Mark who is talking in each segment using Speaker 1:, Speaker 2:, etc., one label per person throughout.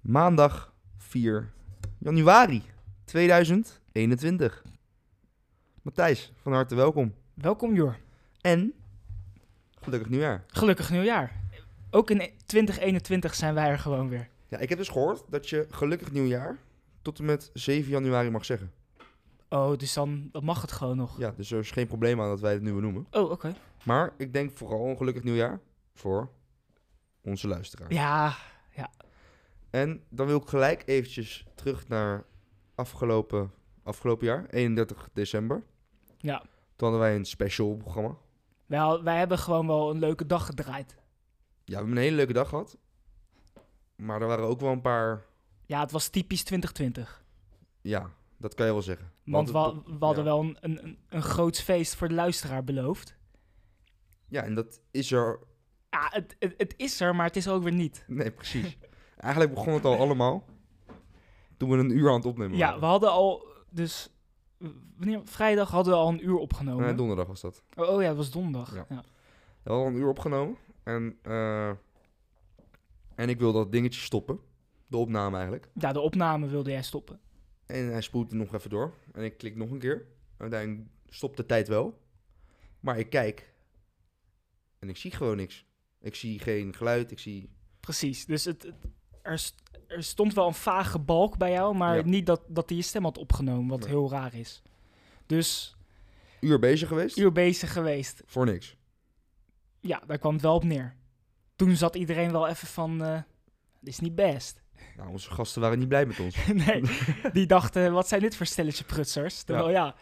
Speaker 1: Maandag 4 januari 2021. Matthijs, van harte welkom.
Speaker 2: Welkom Jor.
Speaker 1: En gelukkig nieuwjaar.
Speaker 2: Gelukkig nieuwjaar. Ook in 2021 zijn wij er gewoon weer.
Speaker 1: Ja, ik heb dus gehoord dat je gelukkig nieuwjaar tot en met 7 januari mag zeggen.
Speaker 2: Oh, dus dan, dan mag het gewoon nog.
Speaker 1: Ja, dus er is geen probleem aan dat wij het nu benoemen.
Speaker 2: Oh, oké.
Speaker 1: Maar ik denk vooral een gelukkig nieuwjaar voor onze luisteraar.
Speaker 2: Ja,
Speaker 1: En dan wil ik gelijk eventjes terug naar afgelopen, afgelopen jaar, 31 december.
Speaker 2: Ja.
Speaker 1: Toen hadden wij een special programma.
Speaker 2: wij, al- wij hebben gewoon wel een leuke dag gedraaid.
Speaker 1: Ja, we hebben een hele leuke dag gehad. Maar er waren ook wel een paar...
Speaker 2: Ja, het was typisch 2020.
Speaker 1: Ja, dat kan je wel zeggen.
Speaker 2: Want,
Speaker 1: het-
Speaker 2: we, we hadden
Speaker 1: ja.
Speaker 2: wel een, een, een groots feest voor de luisteraar beloofd.
Speaker 1: Ja, en dat is er...
Speaker 2: Ja, het, het, het is er, maar het is ook weer niet.
Speaker 1: Nee, precies. Eigenlijk begon het al allemaal toen we een uur aan het opnemen
Speaker 2: Ja,
Speaker 1: waren.
Speaker 2: we hadden al, dus, w- wanneer, vrijdag hadden we al een uur opgenomen.
Speaker 1: Nee, Eh, donderdag was dat.
Speaker 2: oh, oh ja, het was donderdag.
Speaker 1: Ja.
Speaker 2: Ja.
Speaker 1: We hadden al een uur opgenomen. En, eh, en ik wilde dat dingetje stoppen. De opname eigenlijk.
Speaker 2: Ja, de opname wilde jij stoppen.
Speaker 1: En hij spoelt nog even door. En ik klik nog een keer. Uiteindelijk stopt de tijd wel. Maar ik kijk. En ik zie gewoon niks. Ik zie geen geluid. Ik zie...
Speaker 2: Precies, dus het, het- er, st- er stond wel een vage balk bij jou, maar
Speaker 1: Ja.
Speaker 2: niet dat, dat hij je stem had opgenomen, wat
Speaker 1: Nee.
Speaker 2: heel raar is. Dus
Speaker 1: Uur bezig geweest.
Speaker 2: uur bezig geweest.
Speaker 1: Voor niks.
Speaker 2: Ja, daar kwam het wel op neer. Toen zat iedereen wel even van, eh, dit is niet best.
Speaker 1: Nou, onze gasten waren niet blij met ons.
Speaker 2: nee, die dachten, wat zijn dit voor stelletje prutsers? Terwijl ja,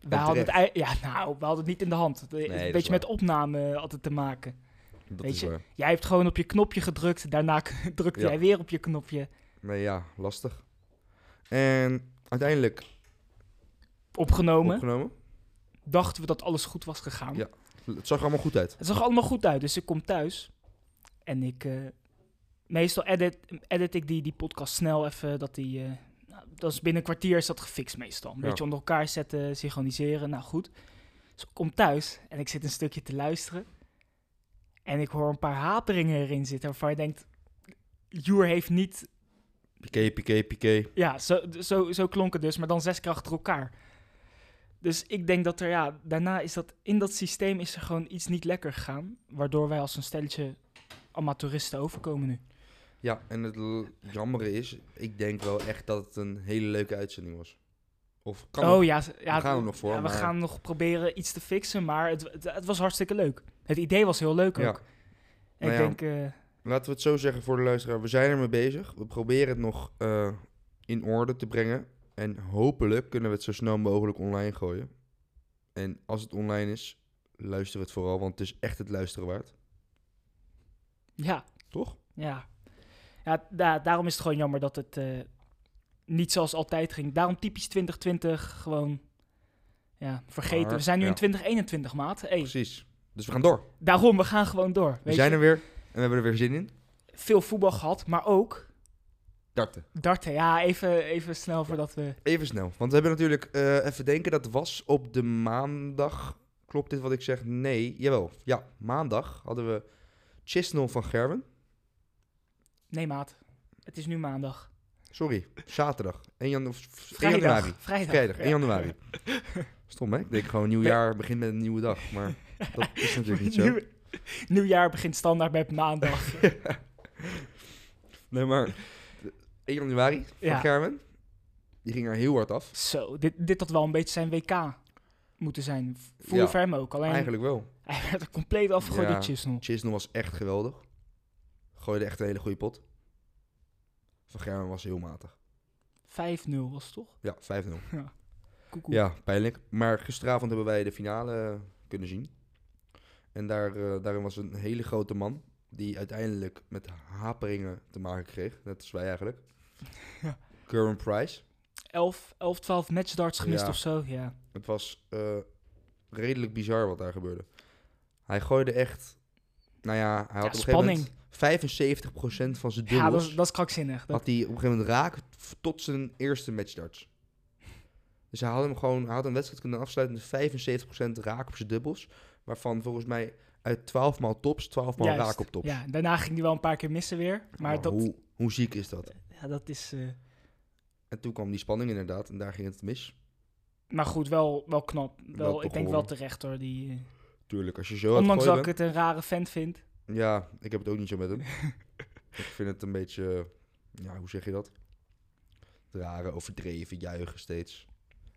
Speaker 2: we,
Speaker 1: En
Speaker 2: hadden het, ei- ja nou, we hadden het niet in de hand. Het-
Speaker 1: dat
Speaker 2: het
Speaker 1: is
Speaker 2: een beetje
Speaker 1: waar.
Speaker 2: met opname altijd te maken.
Speaker 1: Dat
Speaker 2: Weet
Speaker 1: is eh,
Speaker 2: je?
Speaker 1: waar.
Speaker 2: Jij hebt gewoon op je knopje gedrukt, daarna drukte
Speaker 1: Ja.
Speaker 2: jij weer op je knopje.
Speaker 1: Nee, ja. Lastig. En uiteindelijk
Speaker 2: Opgenomen.
Speaker 1: opgenomen.
Speaker 2: Dachten we dat alles goed was gegaan.
Speaker 1: Ja. Het zag er allemaal goed uit.
Speaker 2: Het zag allemaal goed uit, dus ik kom thuis. En ik... eh, meestal edit, edit ik die, die podcast snel even, dat die... eh, nou, dat is binnen een kwartier is dat gefixt meestal. Een
Speaker 1: Ja.
Speaker 2: beetje onder elkaar zetten, synchroniseren, nou goed. Dus ik kom thuis en ik zit een stukje te luisteren. En ik hoor een paar haperingen erin zitten waarvan je denkt... Joer heeft niet...
Speaker 1: Piqué, piqué, piqué.
Speaker 2: Ja, zo, zo, zo klonk het dus, maar dan zes keer achter elkaar. Dus ik denk dat er, ja, daarna is dat, in dat systeem is er gewoon iets niet lekker gegaan. Waardoor wij als een stelletje amateuristen overkomen nu.
Speaker 1: Ja, en het l- jammere is, ik denk wel echt dat het een hele leuke uitzending was. Of kan
Speaker 2: oh
Speaker 1: het?
Speaker 2: ja, ze- ja,
Speaker 1: we gaan
Speaker 2: het-
Speaker 1: er nog voor,
Speaker 2: ja, we
Speaker 1: maar-
Speaker 2: gaan nog proberen iets te fixen, maar het, het, het was hartstikke leuk. Het idee was heel leuk
Speaker 1: Ja.
Speaker 2: ook. En
Speaker 1: Nou
Speaker 2: ik
Speaker 1: ja.
Speaker 2: denk, eh,
Speaker 1: Laten we het zo zeggen voor de luisteraar. We zijn ermee bezig. We proberen het nog eh, in orde te brengen. En hopelijk kunnen we het zo snel mogelijk online gooien. En als het online is, luister het vooral, want het is echt het luisteren waard.
Speaker 2: ja,
Speaker 1: Toch?
Speaker 2: ja. ja da- daarom is het gewoon jammer dat het eh, niet zoals altijd ging. Daarom typisch 2020 gewoon ja, vergeten.
Speaker 1: Maar,
Speaker 2: we zijn nu
Speaker 1: ja.
Speaker 2: in 2021, maat. Hey,
Speaker 1: Precies. Dus we gaan door.
Speaker 2: Daarom, we gaan gewoon door.
Speaker 1: We
Speaker 2: Weet
Speaker 1: zijn
Speaker 2: je?
Speaker 1: er weer en we hebben er weer zin in.
Speaker 2: Veel voetbal gehad, maar ook
Speaker 1: Darten.
Speaker 2: darten. Ja, even, even snel voordat we...
Speaker 1: Even snel. Want we hebben natuurlijk, eh, even denken, dat was op de maandag. Klopt dit wat ik zeg? Nee. Jawel. Ja, maandag hadden we Chisnell van Gerwen.
Speaker 2: Nee, maat. Het is nu maandag.
Speaker 1: Sorry, zaterdag. 1, janu- of 1
Speaker 2: Vrijdag.
Speaker 1: januari.
Speaker 2: Vrijdag.
Speaker 1: Vrijdag, 1
Speaker 2: Ja.
Speaker 1: januari. Stom, hè? Ik denk gewoon nieuwjaar begint met een nieuwe dag. Maar dat is natuurlijk niet zo.
Speaker 2: Nieuw- nieuwjaar begint standaard met maandag.
Speaker 1: Nee, maar 1 januari van
Speaker 2: Ja.
Speaker 1: Gerwen. Die ging er heel hard af.
Speaker 2: Zo, dit, dit had wel een beetje zijn WK moeten zijn. Voelde
Speaker 1: Ja,
Speaker 2: voor hem ook. Alleen,
Speaker 1: Eigenlijk wel.
Speaker 2: hij werd er compleet afgegooid
Speaker 1: Ja.
Speaker 2: door Chisnell.
Speaker 1: Chisnell was echt geweldig. Gooide echt een hele goede pot. Van Gerwen was heel matig.
Speaker 2: 5-0 was het toch?
Speaker 1: Ja, 5-0.
Speaker 2: Koekoe.
Speaker 1: Ja, pijnlijk. Maar gisteravond hebben wij de finale eh, kunnen zien. En daar, eh, daarin was een hele grote man. Die uiteindelijk met haperingen te maken kreeg. Net als wij eigenlijk.
Speaker 2: Ja.
Speaker 1: Current Price.
Speaker 2: 11, 11, 12 matchdarts gemist
Speaker 1: Ja.
Speaker 2: of zo. Ja.
Speaker 1: Het was eh, redelijk bizar wat daar gebeurde. Hij gooide echt... Nou ja, hij had op een gegeven moment 75% van zijn
Speaker 2: Ja, dat,
Speaker 1: dubbels.
Speaker 2: is- dat is krankzinnig. Dat,
Speaker 1: had hij op een gegeven moment raak f- tot zijn eerste matchdarts. Dus hij had hem gewoon, hij had een wedstrijd kunnen afsluiten met 75% raak op zijn dubbels. Waarvan volgens mij uit 12 maal tops, 12 maal
Speaker 2: Juist,
Speaker 1: raak op tops.
Speaker 2: ja, daarna ging hij wel een paar keer missen weer. Maar
Speaker 1: Nou,
Speaker 2: dat,
Speaker 1: hoe, hoe ziek is dat?
Speaker 2: ja, dat is. eh,
Speaker 1: En toen kwam die spanning inderdaad en daar ging het mis.
Speaker 2: maar goed, wel, wel knap. Wel, ik denk
Speaker 1: behoorlijk.
Speaker 2: wel terecht hoor. Die, eh,
Speaker 1: Tuurlijk, als je zo aan het
Speaker 2: ondanks dat
Speaker 1: gooien
Speaker 2: ik het een rare vent vind.
Speaker 1: bent- Ja, ik heb het ook niet zo met hem. ik vind het een beetje, eh, ja, hoe zeg je dat? Rare, overdreven, juichen steeds.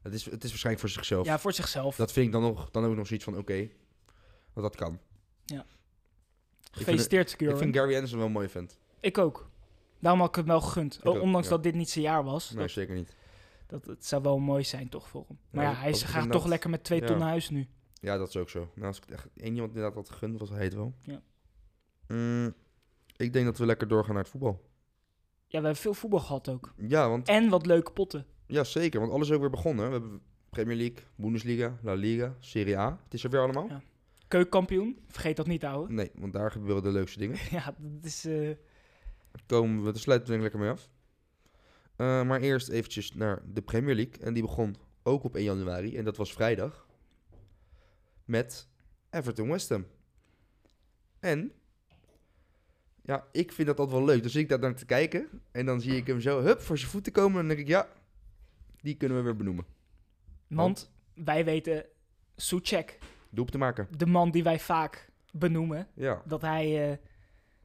Speaker 1: Het is, het is waarschijnlijk voor zichzelf.
Speaker 2: Ja, voor zichzelf.
Speaker 1: Dat vind ik dan, nog, dan ook nog zoiets van, oké, want dat kan. vind het-
Speaker 2: Gefeliciteerd, Secure.
Speaker 1: Ik vind Gary Anderson wel een mooie vent.
Speaker 2: Ik ook. Daarom had ik hem wel gegund.
Speaker 1: Ik ook,
Speaker 2: ondanks
Speaker 1: ja.
Speaker 2: dat dit niet zijn jaar was.
Speaker 1: Nee, zeker niet.
Speaker 2: Dat, dat het zou wel mooi zijn toch voor hem. Maar
Speaker 1: Ja,
Speaker 2: ja,
Speaker 1: dat-
Speaker 2: hij
Speaker 1: dat
Speaker 2: is-
Speaker 1: is
Speaker 2: gaat
Speaker 1: inderdaad-
Speaker 2: toch lekker met twee
Speaker 1: ja.
Speaker 2: ton naar huis nu.
Speaker 1: Ja, dat is ook zo. Nou, als ik het echt één iemand inderdaad had gegund, was hij het wel.
Speaker 2: Ja.
Speaker 1: Mm, ik denk dat we lekker doorgaan naar het voetbal.
Speaker 2: Ja, we hebben veel voetbal gehad ook.
Speaker 1: Ja, want,
Speaker 2: En wat leuke potten.
Speaker 1: ja, zeker. Want alles is ook weer begonnen. hè. We hebben Premier League, Bundesliga, La Liga, Serie A. Het is er weer allemaal.
Speaker 2: Ja. Keukenkampioen. Vergeet dat niet, ouwe.
Speaker 1: Nee, want daar gebeuren de leukste dingen.
Speaker 2: Ja, dat is... eh,
Speaker 1: Daar komen we, daar sluiten we denk ik lekker mee af. Eh, maar eerst eventjes naar de Premier League. En die begon ook op 1 januari. En dat was vrijdag. Met Everton West Ham. En... Ja, ik vind dat altijd wel leuk. Dan zit ik daar dan te kijken. En dan zie ik hem zo, hup, voor zijn voeten komen. En dan denk ik, ja, die kunnen we weer benoemen.
Speaker 2: want wij weten... Soucek,
Speaker 1: Doep te maken.
Speaker 2: de man die wij vaak benoemen.
Speaker 1: Ja.
Speaker 2: Dat hij eh,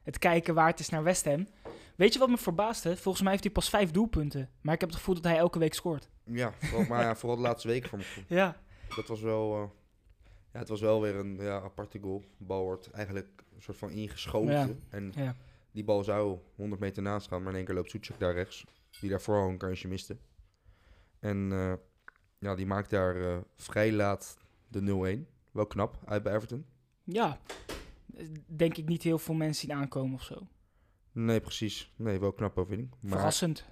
Speaker 2: het kijken waard is naar West Ham. Weet je wat me verbaasde? Volgens mij heeft hij pas vijf doelpunten. Maar ik heb het gevoel dat hij elke week scoort.
Speaker 1: Ja, vooral, maar ja, vooral de laatste week voor mijn gevoel.
Speaker 2: Ja.
Speaker 1: Dat was wel... eh, ja, het was wel weer een ja, aparte goal. De bal wordt eigenlijk een soort van ingeschoten.
Speaker 2: Ja.
Speaker 1: En
Speaker 2: Ja.
Speaker 1: Die bal zou 100 meter naast gaan, maar in één keer loopt Soetjek daar rechts. Die daarvoor al een kansje miste. En eh, ja, die maakt daar eh, vrij laat de 0-1. Wel knap, uit bij Everton.
Speaker 2: Ja. Denk ik niet heel veel mensen zien aankomen of zo.
Speaker 1: Nee, precies. Nee, wel knap overwinning. Maar
Speaker 2: Verrassend.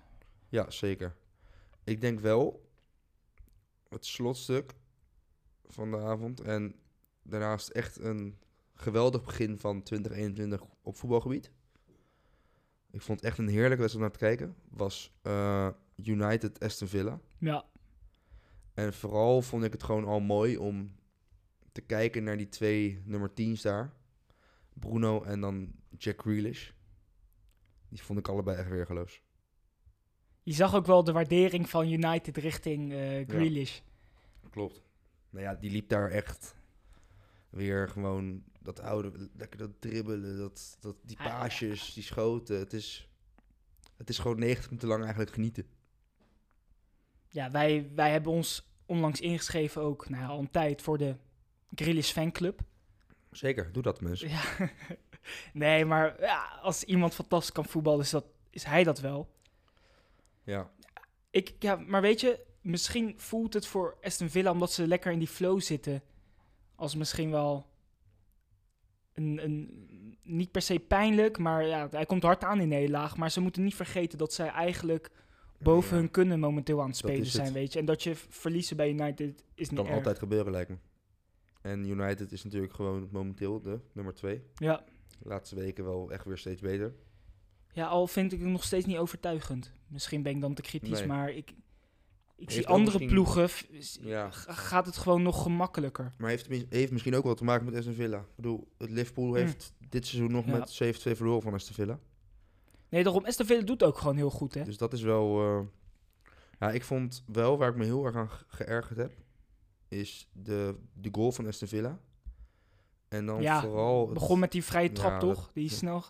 Speaker 1: ja, zeker. Ik denk wel het slotstuk van de avond. En daarnaast echt een geweldig begin van 2021 op voetbalgebied. Ik vond het echt een heerlijke wedstrijd om naar te kijken. Was eh, United Aston Villa.
Speaker 2: Ja.
Speaker 1: En vooral vond ik het gewoon al mooi om te kijken naar die twee nummer 10's daar. Bruno en dan Jack Grealish. Die vond ik allebei echt weergeloos.
Speaker 2: Je zag ook wel de waardering van United richting eh Grealish.
Speaker 1: Klopt. Nou ja, die liep daar echt weer gewoon dat oude, lekker dat dribbelen, dat, dat, die
Speaker 2: Ah, ja.
Speaker 1: paasjes, die schoten. Het is, het is gewoon 90 minuten lang eigenlijk genieten.
Speaker 2: Ja, wij, wij hebben ons onlangs ingeschreven ook, nou ja, al een tijd, voor de Grealish fanclub.
Speaker 1: Zeker, doe dat mensen.
Speaker 2: Ja. nee, maar ja, als iemand fantastisch kan voetballen, is, dat, is hij dat wel.
Speaker 1: Ja,
Speaker 2: Ik, ja, maar weet je, misschien voelt het voor Aston Villa, omdat ze lekker in die flow zitten, als misschien wel een, een niet per se pijnlijk, maar ja, hij komt hard aan in nederlaag. Maar ze moeten niet vergeten dat zij eigenlijk boven
Speaker 1: Ja.
Speaker 2: hun kunnen momenteel aan het
Speaker 1: Dat
Speaker 2: spelen
Speaker 1: is het.
Speaker 2: zijn, weet je. En dat je v- verliezen bij United is niet
Speaker 1: kan
Speaker 2: erg.
Speaker 1: altijd gebeuren lijkt me. En United is natuurlijk gewoon momenteel de nummer 2.
Speaker 2: Ja.
Speaker 1: De laatste weken wel echt weer steeds beter.
Speaker 2: ja, al vind ik het nog steeds niet overtuigend. Misschien ben ik dan te kritisch,
Speaker 1: Nee.
Speaker 2: maar ik, ik
Speaker 1: ook
Speaker 2: zie andere
Speaker 1: misschien-
Speaker 2: ploegen, f- is-
Speaker 1: Ja.
Speaker 2: g- gaat het gewoon nog gemakkelijker.
Speaker 1: Maar heeft, mis- heeft misschien ook wel te maken met Aston Villa. Ik bedoel, het Liverpool heeft dit seizoen nog
Speaker 2: Mm. Ja.
Speaker 1: met 7-2 verloren van Aston Villa.
Speaker 2: Nee, daarom, Aston Villa doet ook gewoon heel goed, hè.
Speaker 1: Dus dat is wel... eh, ja, ik vond wel, waar ik me heel erg aan ge- geërgerd heb, is de, de goal van Aston Villa. En dan
Speaker 2: Ja,
Speaker 1: vooral... het-
Speaker 2: begon met die vrije trap,
Speaker 1: Ja,
Speaker 2: toch? Die
Speaker 1: ja.
Speaker 2: snel...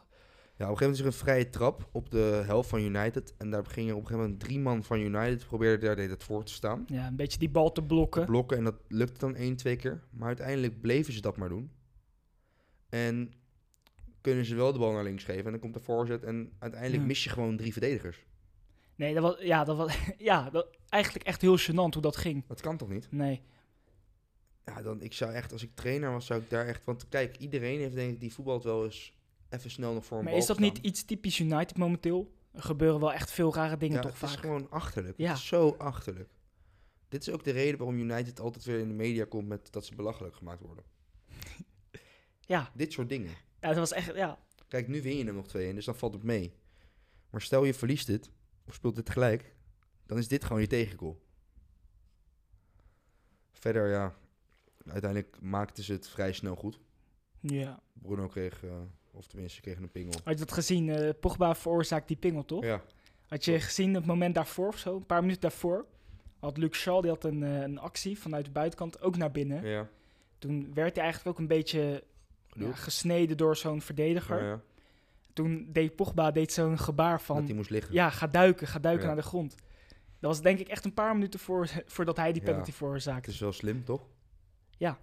Speaker 1: Ja, op een gegeven moment is er een vrije trap op de helft van United. En daar gingen op een gegeven moment drie man van United probeerden daar deed het voor te staan.
Speaker 2: Ja, een beetje die bal te blokken.
Speaker 1: blokken. En dat lukte dan één, twee keer. Maar uiteindelijk bleven ze dat maar doen. En kunnen ze wel de bal naar links geven. En dan komt de voorzet. En uiteindelijk
Speaker 2: Ja.
Speaker 1: mis je gewoon drie verdedigers.
Speaker 2: Nee, dat was... Ja, dat was... Ja, dat, eigenlijk echt heel gênant hoe dat ging.
Speaker 1: Dat kan toch niet?
Speaker 2: Nee.
Speaker 1: Ja, dan, ik zou echt, als ik trainer was, zou ik daar echt... Want kijk, iedereen heeft denk ik, die voetbalt wel eens even snel nog voor een
Speaker 2: Maar
Speaker 1: bal
Speaker 2: is dat
Speaker 1: gestaan.
Speaker 2: niet iets typisch United momenteel? Er gebeuren wel echt veel rare dingen
Speaker 1: ja,
Speaker 2: toch
Speaker 1: het
Speaker 2: vaak.
Speaker 1: is gewoon achterlijk.
Speaker 2: Ja.
Speaker 1: Het is zo achterlijk. Dit is ook de reden waarom United altijd weer in de media komt met dat ze belachelijk gemaakt worden.
Speaker 2: Ja.
Speaker 1: Dit soort dingen.
Speaker 2: Ja, dat was echt, ja.
Speaker 1: Kijk, nu win je hem nog 2-1, dus dan valt het mee. Maar stel je verliest het, of speelt dit gelijk, dan is dit gewoon je tegengoal. Verder, ja, uiteindelijk maakten ze het vrij snel goed.
Speaker 2: ja.
Speaker 1: Bruno kreeg, eh, of tenminste, kreeg een pingel.
Speaker 2: Had je dat gezien? eh, Pogba veroorzaakt die pingel, toch?
Speaker 1: Ja,
Speaker 2: Had je gezien het moment daarvoor of zo? Een paar minuten daarvoor had Luke Shaw die had een, eh, een actie vanuit de buitenkant ook naar binnen.
Speaker 1: ja.
Speaker 2: Toen werd hij eigenlijk ook een beetje ja, gesneden door zo'n verdediger.
Speaker 1: ja.
Speaker 2: Toen deed Pogba deed zo'n gebaar
Speaker 1: Dat hij
Speaker 2: van...
Speaker 1: moest liggen.
Speaker 2: Ja, ga duiken, ga duiken
Speaker 1: Ja.
Speaker 2: naar de grond. Dat was denk ik echt een paar minuten voor, voordat hij die
Speaker 1: Ja.
Speaker 2: penalty
Speaker 1: Het
Speaker 2: veroorzaakte.
Speaker 1: is wel slim, toch?
Speaker 2: Ja.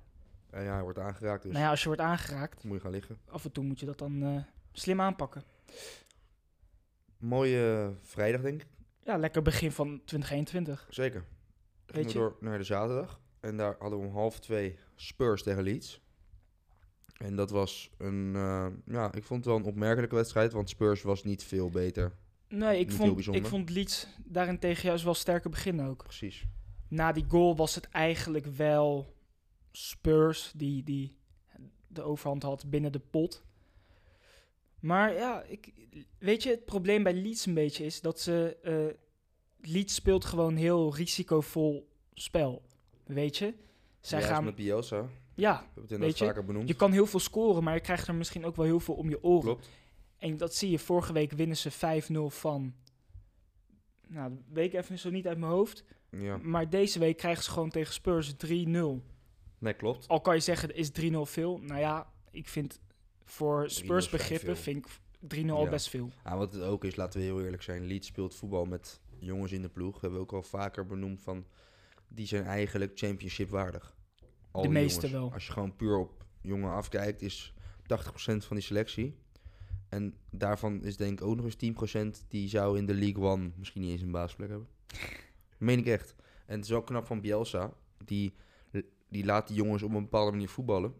Speaker 1: En ja, hij wordt aangeraakt, dus
Speaker 2: Nou ja, als je wordt aangeraakt,
Speaker 1: moet je gaan liggen.
Speaker 2: af en toe moet je dat dan eh, slim aanpakken.
Speaker 1: Mooie eh, vrijdag, denk ik.
Speaker 2: Ja, lekker begin van 2021.
Speaker 1: Zeker. Dan gingen
Speaker 2: Weet
Speaker 1: we
Speaker 2: je?
Speaker 1: door naar de zaterdag. En daar hadden we om half twee Spurs tegen Leeds. En dat was een... eh, ja, ik vond het wel een opmerkelijke wedstrijd. Want Spurs was niet veel beter.
Speaker 2: Nee, ik
Speaker 1: Niet heel
Speaker 2: vond,
Speaker 1: bijzonder.
Speaker 2: ik vond Leeds daarentegen juist wel sterker beginnen ook.
Speaker 1: Precies.
Speaker 2: Na die goal was het eigenlijk wel Spurs die, die de overhand had binnen de pot. Maar ja, ik, weet je, het probleem bij Leeds een beetje is dat ze... eh, Leeds speelt gewoon heel risicovol spel, weet je. Zij
Speaker 1: Juist
Speaker 2: gaan...
Speaker 1: met Bielsa. We
Speaker 2: Ja,
Speaker 1: hebben het inderdaad
Speaker 2: Weet je,
Speaker 1: vaker benoemd.
Speaker 2: je kan heel veel scoren, maar je krijgt er misschien ook wel heel veel om je oren.
Speaker 1: Klopt.
Speaker 2: En dat zie je. Vorige week winnen ze 5-0 van. Nou, dat weet ik even zo niet uit mijn hoofd.
Speaker 1: Ja.
Speaker 2: Maar deze week krijgen ze gewoon tegen Spurs 3-0.
Speaker 1: Nee, klopt.
Speaker 2: Al kan je zeggen, is 3-0 veel? Nou ja, ik vind voor Spurs
Speaker 1: vrij
Speaker 2: begrippen
Speaker 1: veel.
Speaker 2: vind ik 3-0 al
Speaker 1: Ja.
Speaker 2: best veel.
Speaker 1: Ja, wat het ook is, laten we heel eerlijk zijn. Leeds speelt voetbal met jongens in de ploeg. Hebben we ook al vaker benoemd van... Die zijn eigenlijk championship waardig. Al
Speaker 2: De
Speaker 1: die
Speaker 2: meeste wel.
Speaker 1: Als je gewoon puur op jongen afkijkt, is 80% van die selectie. En daarvan is denk ik ook nog eens 10% die zou in de League One misschien niet eens een baasplek hebben. Meen ik echt. En het is wel knap van Bielsa. Die, die laat die jongens op een bepaalde manier voetballen.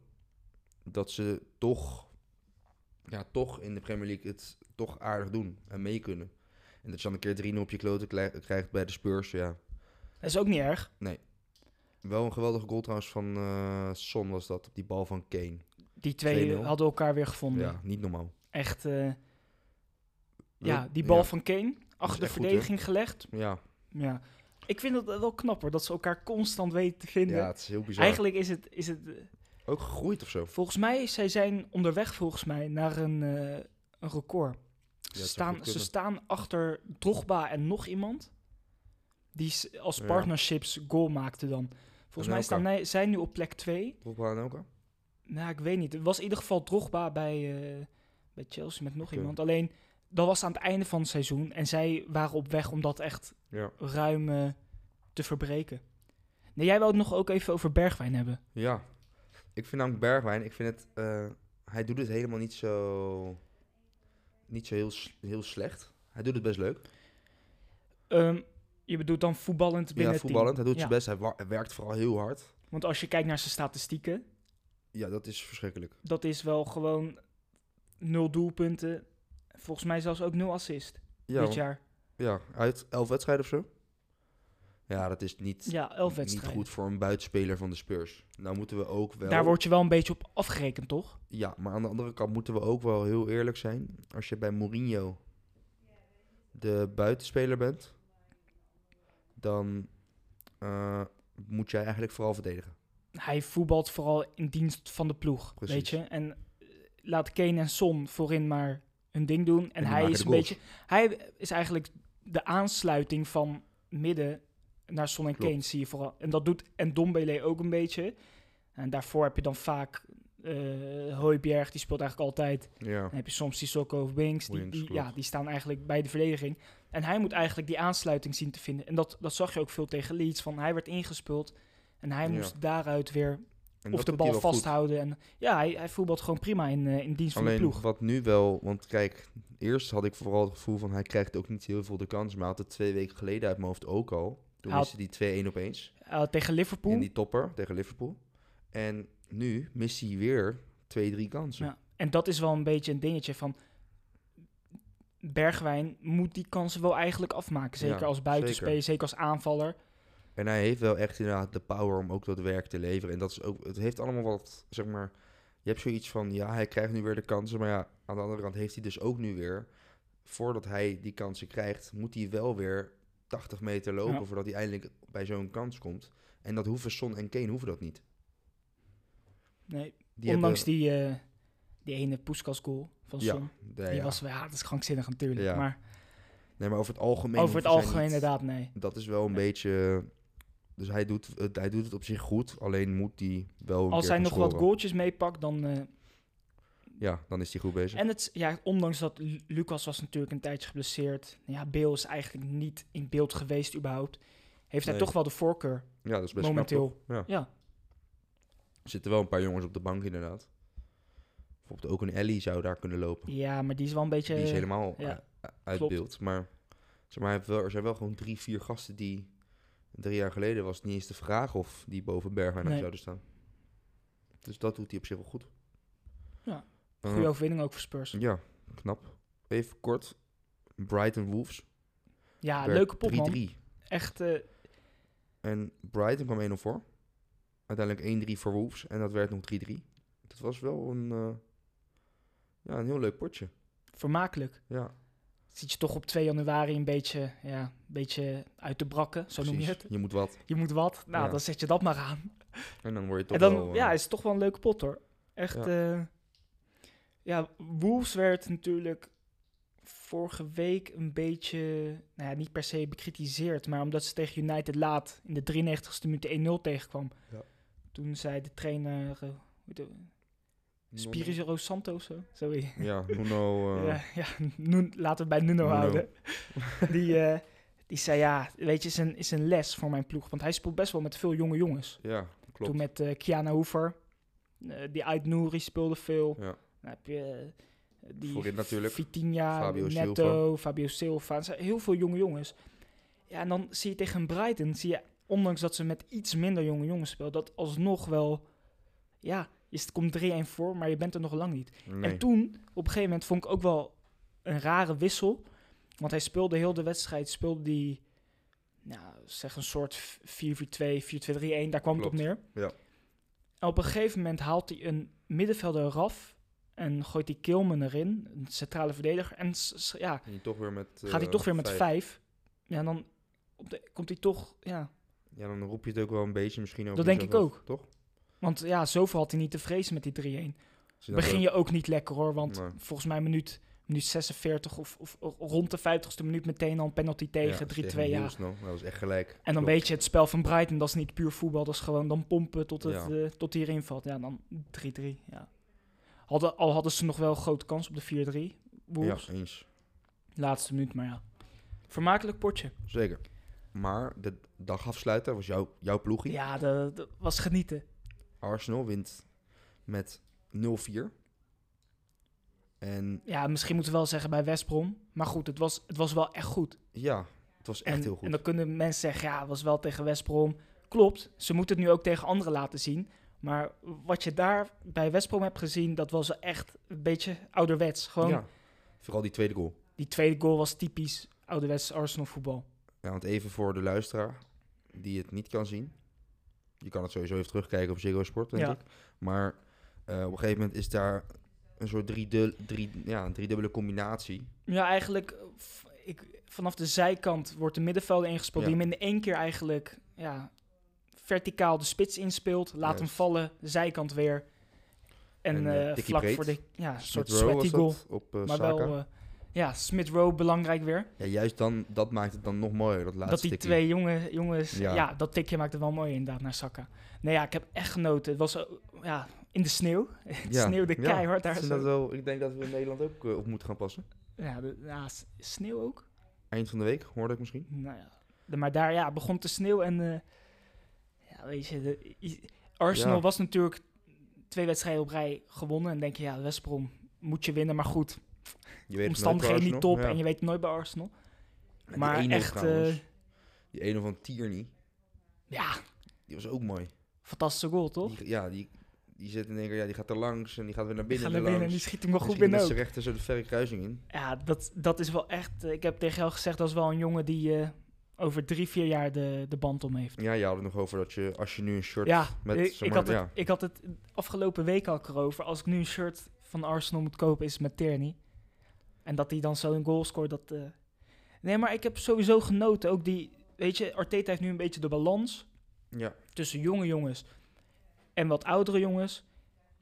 Speaker 1: Dat ze toch, ja, toch in de Premier League het toch aardig doen en mee kunnen. En dat je dan een keer 3-0 op je kloten klei- krijgt bij de Spurs, ja.
Speaker 2: Dat is ook niet erg.
Speaker 1: Wel een geweldige goal trouwens van eh, Son was dat, op die bal van Kane.
Speaker 2: Die twee
Speaker 1: 2-0.
Speaker 2: hadden elkaar weer gevonden.
Speaker 1: Ja, niet normaal.
Speaker 2: Echt, eh, ja, die bal
Speaker 1: Ja,
Speaker 2: van Kane. Achter de
Speaker 1: echt goed, hè?
Speaker 2: verdediging gelegd.
Speaker 1: Ja,
Speaker 2: Ja. Ik vind dat wel knapper, dat ze elkaar constant weten te vinden.
Speaker 1: ja het is heel bizar.
Speaker 2: Eigenlijk is het, is het eh,
Speaker 1: Ook gegroeid of zo.
Speaker 2: Volgens mij, zij zijn onderweg volgens mij naar een, eh, een record.
Speaker 1: Ja,
Speaker 2: ze,
Speaker 1: het zou
Speaker 2: staan,
Speaker 1: goed
Speaker 2: ze
Speaker 1: kunnen.
Speaker 2: staan achter Drogba en nog iemand. Die s- als
Speaker 1: Ja.
Speaker 2: partnerships goal maakte dan. Volgens mij
Speaker 1: Anelka.
Speaker 2: staan nij- zij nu op plek 2.
Speaker 1: Drogba en Elka?
Speaker 2: Nou, ik weet niet. Het was in ieder geval Drogba bij, eh, bij Chelsea met nog
Speaker 1: Oké.
Speaker 2: iemand. Alleen, dat was aan het einde van het seizoen. En zij waren op weg om dat echt
Speaker 1: Ja.
Speaker 2: ruim eh, te verbreken. Nee, jij wou het nog ook even over Bergwijn hebben.
Speaker 1: Ja. Ik vind namelijk Bergwijn, ik vind het... eh, hij doet het helemaal niet zo... Niet zo heel, s- heel slecht. Hij doet het best leuk.
Speaker 2: Ehm, je bedoelt dan voetballend binnen
Speaker 1: ja,
Speaker 2: het team?
Speaker 1: voetballend. Hij doet
Speaker 2: Ja.
Speaker 1: zijn best. Hij, wa- hij werkt vooral heel hard.
Speaker 2: Want als je kijkt naar zijn statistieken,
Speaker 1: Ja, dat is verschrikkelijk.
Speaker 2: dat is wel gewoon nul doelpunten. Volgens mij zelfs ook nul assist
Speaker 1: Ja,
Speaker 2: dit
Speaker 1: want-
Speaker 2: jaar.
Speaker 1: ja uit elf wedstrijden of zo. Ja, dat is niet,
Speaker 2: Ja, elf
Speaker 1: niet
Speaker 2: wedstrijden.
Speaker 1: goed voor een buitenspeler van de Spurs. Nou moeten we ook wel...
Speaker 2: Daar word je wel een beetje op afgerekend, toch?
Speaker 1: Ja, maar aan de andere kant moeten we ook wel heel eerlijk zijn. Als je bij Mourinho de buitenspeler bent, dan eh, moet jij eigenlijk vooral verdedigen.
Speaker 2: Hij voetbalt vooral in dienst van de ploeg,
Speaker 1: Precies.
Speaker 2: weet je. En eh, laat Kane en Son voorin maar hun ding doen. En,
Speaker 1: die
Speaker 2: hij
Speaker 1: maken
Speaker 2: is
Speaker 1: de
Speaker 2: een
Speaker 1: goals.
Speaker 2: beetje... Hij is eigenlijk de aansluiting van midden naar Son en
Speaker 1: Klopt.
Speaker 2: Kane, zie je vooral. En dat doet Ndombele ook een beetje. En daarvoor heb je dan vaak eh Hooiberg, die speelt eigenlijk altijd...
Speaker 1: Ja,
Speaker 2: Dan heb je soms Sissoko of Binks. Die,
Speaker 1: Williams,
Speaker 2: die,
Speaker 1: klopt.
Speaker 2: ja, die staan eigenlijk bij de verdediging. En hij moet eigenlijk die aansluiting zien te vinden. En dat, dat zag je ook veel tegen Leeds. Van hij werd ingespeeld en hij
Speaker 1: Ja.
Speaker 2: moest daaruit weer
Speaker 1: en dat
Speaker 2: of de
Speaker 1: doet hij
Speaker 2: bal
Speaker 1: wel goed.
Speaker 2: vasthouden. En, ja, hij, hij voetbalt gewoon prima in, eh, in dienst van de
Speaker 1: Alleen
Speaker 2: ploeg.
Speaker 1: wat nu wel, want kijk, eerst had ik vooral het gevoel van hij krijgt ook niet heel veel de kans. Maar hij had het twee weken geleden uit mijn hoofd ook al. Toen
Speaker 2: Hij
Speaker 1: miste die 2-1 opeens.
Speaker 2: Eh, tegen Liverpool.
Speaker 1: In die topper tegen Liverpool. En nu mist hij weer twee, drie kansen.
Speaker 2: Ja. En dat is wel een beetje een dingetje van... Bergwijn moet die kansen wel eigenlijk afmaken. Zeker
Speaker 1: Ja,
Speaker 2: als buitenspeler,
Speaker 1: zeker.
Speaker 2: zeker. als aanvaller.
Speaker 1: En hij heeft wel echt inderdaad de power om ook dat werk te leveren. En dat is ook, het heeft allemaal wat, zeg maar, je hebt zoiets van, ja, hij krijgt nu weer de kansen. Maar ja, aan de andere kant heeft hij dus ook nu weer, voordat hij die kansen krijgt, moet hij wel weer 80 meter lopen
Speaker 2: Ja.
Speaker 1: voordat hij eindelijk bij zo'n kans komt. En dat hoeven Son en Kane hoeven dat niet.
Speaker 2: Nee,
Speaker 1: Die
Speaker 2: ondanks
Speaker 1: hebben-
Speaker 2: die, eh, die ene Puskas goal van
Speaker 1: Ja,
Speaker 2: Son.
Speaker 1: nee,
Speaker 2: die
Speaker 1: ja.
Speaker 2: was wel, ja, dat is krankzinnig natuurlijk.
Speaker 1: Ja,
Speaker 2: maar
Speaker 1: nee, maar over het algemeen.
Speaker 2: over het
Speaker 1: hoeven zij
Speaker 2: algemeen
Speaker 1: niet.
Speaker 2: inderdaad, nee.
Speaker 1: Dat is wel een beetje. Dus hij doet, het, hij doet het op zich goed. Alleen moet hij wel. Een
Speaker 2: Als
Speaker 1: keer
Speaker 2: hij
Speaker 1: gaan
Speaker 2: nog wat
Speaker 1: scoren.
Speaker 2: goaltjes meepakt, dan... eh,
Speaker 1: Ja, dan is hij goed bezig.
Speaker 2: en het, ja, ondanks dat Lu- Lucas was natuurlijk een tijdje geblesseerd. Ja, Beel is eigenlijk niet in beeld geweest überhaupt. Heeft hij
Speaker 1: Nee.
Speaker 2: toch wel de voorkeur
Speaker 1: ja, dat is best
Speaker 2: momenteel.
Speaker 1: knap. toch? Ja.
Speaker 2: ja,
Speaker 1: Er zitten wel een paar jongens op de bank, inderdaad. Bijvoorbeeld ook een Ellie zou daar kunnen lopen.
Speaker 2: Ja, maar die is wel een beetje.
Speaker 1: Die is helemaal
Speaker 2: ja,
Speaker 1: u- uit
Speaker 2: klopt.
Speaker 1: beeld. Maar, zeg maar hij heeft wel, er zijn wel gewoon drie, vier gasten die. Drie jaar geleden was het niet eens de vraag of die boven Bergwijn
Speaker 2: Nee.
Speaker 1: zouden staan. Dus dat doet hij op zich wel goed.
Speaker 2: Ja,
Speaker 1: Eh,
Speaker 2: goede overwinning ook voor Spurs.
Speaker 1: Ja, knap. Even kort. Brighton Wolves.
Speaker 2: Ja,
Speaker 1: werd
Speaker 2: leuke pot, man.
Speaker 1: 3-3.
Speaker 2: Echt, eh,
Speaker 1: En Brighton kwam 1-0 voor. Uiteindelijk 1-3 voor Wolves. En dat werd nog 3-3. Dat was wel een, eh, ja, een heel leuk potje.
Speaker 2: vermakelijk.
Speaker 1: Ja,
Speaker 2: Zit je toch op 2 januari een beetje, ja, een beetje uit de brakken, zo noem je
Speaker 1: precies.
Speaker 2: het.
Speaker 1: Je moet wat.
Speaker 2: Je moet wat, nou,
Speaker 1: Ja.
Speaker 2: dan zet je dat maar aan.
Speaker 1: En dan word je toch
Speaker 2: en dan,
Speaker 1: wel... eh,
Speaker 2: ja, is het toch wel een leuke pot, hoor. Echt,
Speaker 1: Ja.
Speaker 2: ja. ja, Wolves werd natuurlijk vorige week een beetje, nou ja, niet per se bekritiseerd, maar omdat ze tegen United laat in de 93ste minuut 1-0 tegenkwam.
Speaker 1: Ja.
Speaker 2: Toen zei de trainer, eh, hoe heet het?
Speaker 1: Nuno-
Speaker 2: Spirito Santo, zo. Sorry.
Speaker 1: Ja, Nuno... eh,
Speaker 2: Ja, ja, Nun- laten we het bij Nuno,
Speaker 1: Nuno.
Speaker 2: houden. die, eh, die zei, ja, weet je, is een, is een les voor mijn ploeg. Want hij speelt best wel met veel jonge jongens.
Speaker 1: ja, klopt.
Speaker 2: Toen met eh, Kiana Hoever. eh, die uit Nouri speelde veel.
Speaker 1: Ja.
Speaker 2: Dan heb je eh, die
Speaker 1: Voorin natuurlijk.
Speaker 2: Vitinha,
Speaker 1: Fabio
Speaker 2: Neto,
Speaker 1: Silva.
Speaker 2: Fabio Silva. Er zijn heel veel jonge jongens. Ja, en dan zie je tegen een Brighton, zie je, ondanks dat ze met iets minder jonge jongens speelt, dat alsnog wel, ja, je- het komt 3-1 voor, maar je bent er nog lang niet.
Speaker 1: Nee.
Speaker 2: En toen, op een gegeven moment, vond ik ook wel een rare wissel. Want hij speelde heel de wedstrijd, speelde die, nou, zeg een soort v- 4-4-2, 4-2-3-1, daar kwam het op
Speaker 1: Klopt,
Speaker 2: neer.
Speaker 1: ja.
Speaker 2: En op een gegeven moment haalt hij een middenvelder eraf en gooit die Kilman erin, een centrale verdediger. En s- s- ja,
Speaker 1: En toch weer met...
Speaker 2: gaat hij
Speaker 1: eh,
Speaker 2: toch weer met vijf. Ja, en dan op de- komt hij toch, ja.
Speaker 1: Ja, dan roep je het ook wel een beetje misschien over
Speaker 2: Dat denk
Speaker 1: jezelf
Speaker 2: ik
Speaker 1: af, Toch?
Speaker 2: Want ja, zoveel had hij niet te vrezen met die 3-1.
Speaker 1: Als je dan
Speaker 2: begin
Speaker 1: zo-
Speaker 2: je ook niet lekker hoor. Want
Speaker 1: Nee.
Speaker 2: volgens mij minuut, minuut 46 of, of rond de 50ste minuut meteen al een penalty tegen. 3-2 ja.
Speaker 1: Wolves, nou, dat was echt gelijk.
Speaker 2: En dan
Speaker 1: Klopt.
Speaker 2: weet je, het spel van Brighton, dat is niet puur voetbal. Dat is gewoon dan pompen tot, het,
Speaker 1: Ja.
Speaker 2: eh, tot hij erin valt. Ja, dan 3-3. Ja. Hadden, al hadden ze nog wel een grote kans op de 4-3. Wolves.
Speaker 1: Ja, eens.
Speaker 2: Laatste minuut, maar ja. Vermakelijk potje.
Speaker 1: Zeker. Maar de dagafsluiter was jouw, jouw ploegie.
Speaker 2: Ja, dat dat was genieten.
Speaker 1: Arsenal wint met 0-4. En
Speaker 2: Ja, misschien moeten we wel zeggen bij West Brom. Maar goed, het was, het was wel echt goed.
Speaker 1: ja, het was echt
Speaker 2: en,
Speaker 1: heel goed.
Speaker 2: En dan kunnen mensen zeggen, ja, was wel tegen West Brom. Klopt, ze moeten het nu ook tegen anderen laten zien. Maar wat je daar bij West Brom hebt gezien, dat was wel echt een beetje ouderwets. Gewoon,
Speaker 1: ja. Vooral die tweede goal.
Speaker 2: die tweede goal was typisch ouderwets Arsenal voetbal.
Speaker 1: Ja, want even voor de luisteraar die het niet kan zien. Je kan het sowieso even terugkijken op Ziggo Sport, denk
Speaker 2: Ja.
Speaker 1: ik. Maar eh, op een gegeven moment is daar een soort driedu- drie, ja, een driedubbele combinatie.
Speaker 2: Ja, eigenlijk, eh, v- ik, vanaf de zijkant wordt de middenvelder ingespeeld.
Speaker 1: Ja.
Speaker 2: Die hem in één keer eigenlijk, ja, verticaal de spits inspeelt. Laat hem
Speaker 1: Juist.
Speaker 2: vallen, zijkant weer. En,
Speaker 1: En, eh,
Speaker 2: eh,
Speaker 1: tikkie
Speaker 2: vlak
Speaker 1: breed.
Speaker 2: voor de, ja, een soort
Speaker 1: Smith Rowe was
Speaker 2: sweaty
Speaker 1: dat,
Speaker 2: goal.
Speaker 1: Op eh
Speaker 2: Maar
Speaker 1: Saka.
Speaker 2: wel, eh, ja, Smith Rowe belangrijk weer.
Speaker 1: Ja, juist dan, dat maakt het dan nog mooier, dat laatste
Speaker 2: dat die
Speaker 1: tikkie.
Speaker 2: twee jonge, jongens,
Speaker 1: Ja.
Speaker 2: ja. dat tikje maakte wel mooi inderdaad naar Saka. Nee, ja, ik heb echt genoten. Het was eh, ja, in de sneeuw. Het sneeuwde keihard daar
Speaker 1: ik vind
Speaker 2: zo.
Speaker 1: dat wel, ik denk dat we in Nederland ook eh, op moeten gaan passen.
Speaker 2: Ja, de, ja, s- sneeuw ook.
Speaker 1: Eind van de week, hoorde ik misschien.
Speaker 2: Nou, ja. De- maar daar ja, begon te sneeuw en eh, ja, weet je, de- i- Arsenal
Speaker 1: Ja.
Speaker 2: was natuurlijk twee wedstrijden op rij gewonnen. En denk je, ja, West Brom moet je winnen. Maar goed,
Speaker 1: Je weet het nooit bij
Speaker 2: omstandigheden niet
Speaker 1: Arsenal.
Speaker 2: top
Speaker 1: Ja.
Speaker 2: en je weet het nooit bij Arsenal.
Speaker 1: En die
Speaker 2: maar
Speaker 1: 1-0
Speaker 2: echt,
Speaker 1: trouwens.
Speaker 2: eh,
Speaker 1: die ene van Tierney,
Speaker 2: ja,
Speaker 1: die was ook mooi.
Speaker 2: fantastische goal toch?
Speaker 1: Die, ja, die, die zit en denkt, ja, die gaat er langs en die gaat weer naar
Speaker 2: Die
Speaker 1: binnen.
Speaker 2: gaan
Speaker 1: en
Speaker 2: naar binnen en
Speaker 1: langs.
Speaker 2: die schiet hem wel goed
Speaker 1: Misschien
Speaker 2: binnen
Speaker 1: dat
Speaker 2: ook.
Speaker 1: ze rechter zo de verre kruising in.
Speaker 2: Ja, dat, dat is wel echt... eh, Ik heb tegen jou gezegd, dat is wel een jongen die eh, over drie, vier jaar de, de band om heeft.
Speaker 1: Ja, je had het nog over dat je, als je nu een shirt...
Speaker 2: Ja,
Speaker 1: met,
Speaker 2: ik,
Speaker 1: zeg
Speaker 2: ik,
Speaker 1: maar,
Speaker 2: had het,
Speaker 1: ja.
Speaker 2: ik had het afgelopen week al erover. Als ik nu een shirt van Arsenal moet kopen, is het met Tierney. En dat hij dan zo een goal scoort, dat... eh, Nee, maar ik heb sowieso genoten. Ook die... Weet je, Arteta heeft nu een beetje de balans.
Speaker 1: Ja,
Speaker 2: tussen jonge jongens en wat oudere jongens.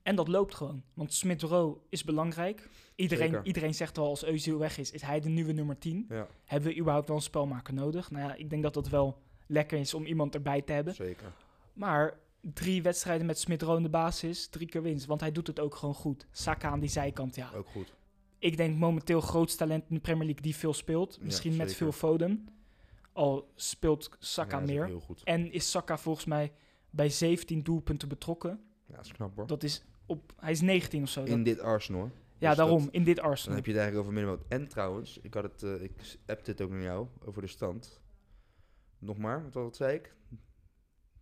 Speaker 2: En dat loopt gewoon. Want Smith Rowe is belangrijk. Iedereen,
Speaker 1: Zeker.
Speaker 2: iedereen zegt wel als Özil weg is, is hij de nieuwe nummer 10.
Speaker 1: ja,
Speaker 2: Hebben we überhaupt wel een spelmaker nodig? Nou ja, ik denk dat dat wel lekker is om iemand erbij te hebben.
Speaker 1: zeker.
Speaker 2: Maar drie wedstrijden met Smith Rowe in de basis, drie keer winst. Want hij doet het ook gewoon goed. Saka aan die zijkant, ja.
Speaker 1: Ook goed.
Speaker 2: Ik denk momenteel grootste talent in de Premier League die veel speelt.
Speaker 1: Ja,
Speaker 2: Misschien met
Speaker 1: zeker.
Speaker 2: veel Foden. Al speelt Saka
Speaker 1: ja, is ook
Speaker 2: meer.
Speaker 1: Heel goed.
Speaker 2: En is Saka volgens mij bij 17 doelpunten betrokken.
Speaker 1: Ja, dat is knap hoor.
Speaker 2: Dat is op, hij is 19 of zo. Dat-
Speaker 1: In dit Arsenal. hoor. Dus
Speaker 2: ja,
Speaker 1: dat-
Speaker 2: daarom, in dit
Speaker 1: Dan
Speaker 2: Arsenal.
Speaker 1: heb je het eigenlijk over middenveld. En trouwens, ik, had het, eh, ik appte het ook naar jou over de stand. Nog maar, wat, wat zei ik?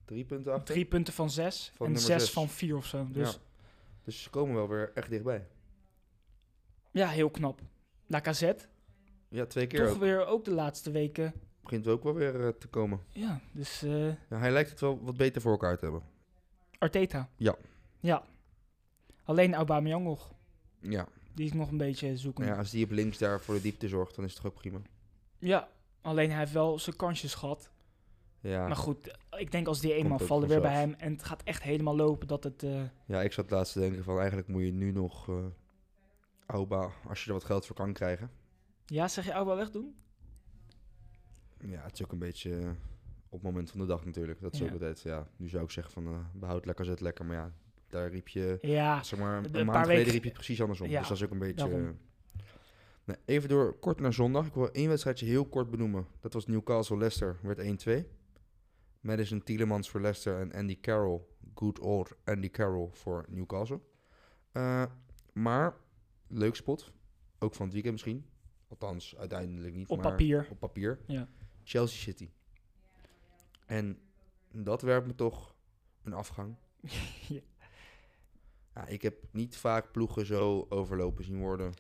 Speaker 1: Drie punten achter.
Speaker 2: Drie punten van zes
Speaker 1: Van
Speaker 2: en
Speaker 1: nummer
Speaker 2: zes
Speaker 1: zes.
Speaker 2: van vier of zo. Dus
Speaker 1: Ja.
Speaker 2: ja,
Speaker 1: Dus ze komen wel weer echt dichtbij.
Speaker 2: heel knap. Lacazette,
Speaker 1: Ja, twee keer
Speaker 2: toch
Speaker 1: ook.
Speaker 2: weer ook de laatste weken.
Speaker 1: Begint ook wel weer eh, te komen.
Speaker 2: Ja, dus eh,
Speaker 1: Ja, hij lijkt het wel wat beter voor elkaar te hebben.
Speaker 2: Arteta.
Speaker 1: Ja.
Speaker 2: Ja. Alleen Aubameyang nog.
Speaker 1: Ja.
Speaker 2: Die is nog een beetje zoeken.
Speaker 1: ja, als die op links daar voor de diepte zorgt, dan is het toch ook prima.
Speaker 2: Ja, alleen hij heeft wel zijn kansjes gehad.
Speaker 1: Ja,
Speaker 2: Maar goed, ik denk als die eenmaal
Speaker 1: ook
Speaker 2: vallen weer bij
Speaker 1: vanzelf.
Speaker 2: hem en het gaat echt helemaal lopen dat het... eh,
Speaker 1: ja ik zat laatst te denken van eigenlijk moet je nu nog eh Auba, als je er wat geld voor kan krijgen.
Speaker 2: ja, zeg je Aubameyang wegdoen?
Speaker 1: Ja, het is ook een beetje eh, op het moment van de dag natuurlijk. Dat is
Speaker 2: Ja.
Speaker 1: ook altijd, ja. Nu zou ik zeggen van eh, behoud lekker, zet lekker. Maar ja, daar riep je,
Speaker 2: Ja,
Speaker 1: zeg maar, een,
Speaker 2: Ah, Een
Speaker 1: maand
Speaker 2: paar
Speaker 1: geleden
Speaker 2: weken-
Speaker 1: riep je het precies andersom.
Speaker 2: Ja,
Speaker 1: dus dat is ook een beetje...
Speaker 2: daarom.
Speaker 1: eh, nou, even door kort naar zondag. Ik wil één wedstrijdje heel kort benoemen. Dat was Newcastle-Leicester, werd 1-2. Madison Tielemans voor Leicester en Andy Carroll, good old Andy Carroll voor Newcastle. Eh, maar, leuk spot. Ook van het weekend misschien. Althans, uiteindelijk niet.
Speaker 2: op
Speaker 1: maar
Speaker 2: papier.
Speaker 1: op papier.
Speaker 2: Ja.
Speaker 1: Chelsea City. En dat werpt me toch een afgang.
Speaker 2: Ja.
Speaker 1: Ja, ik heb niet vaak ploegen zo overlopen zien worden.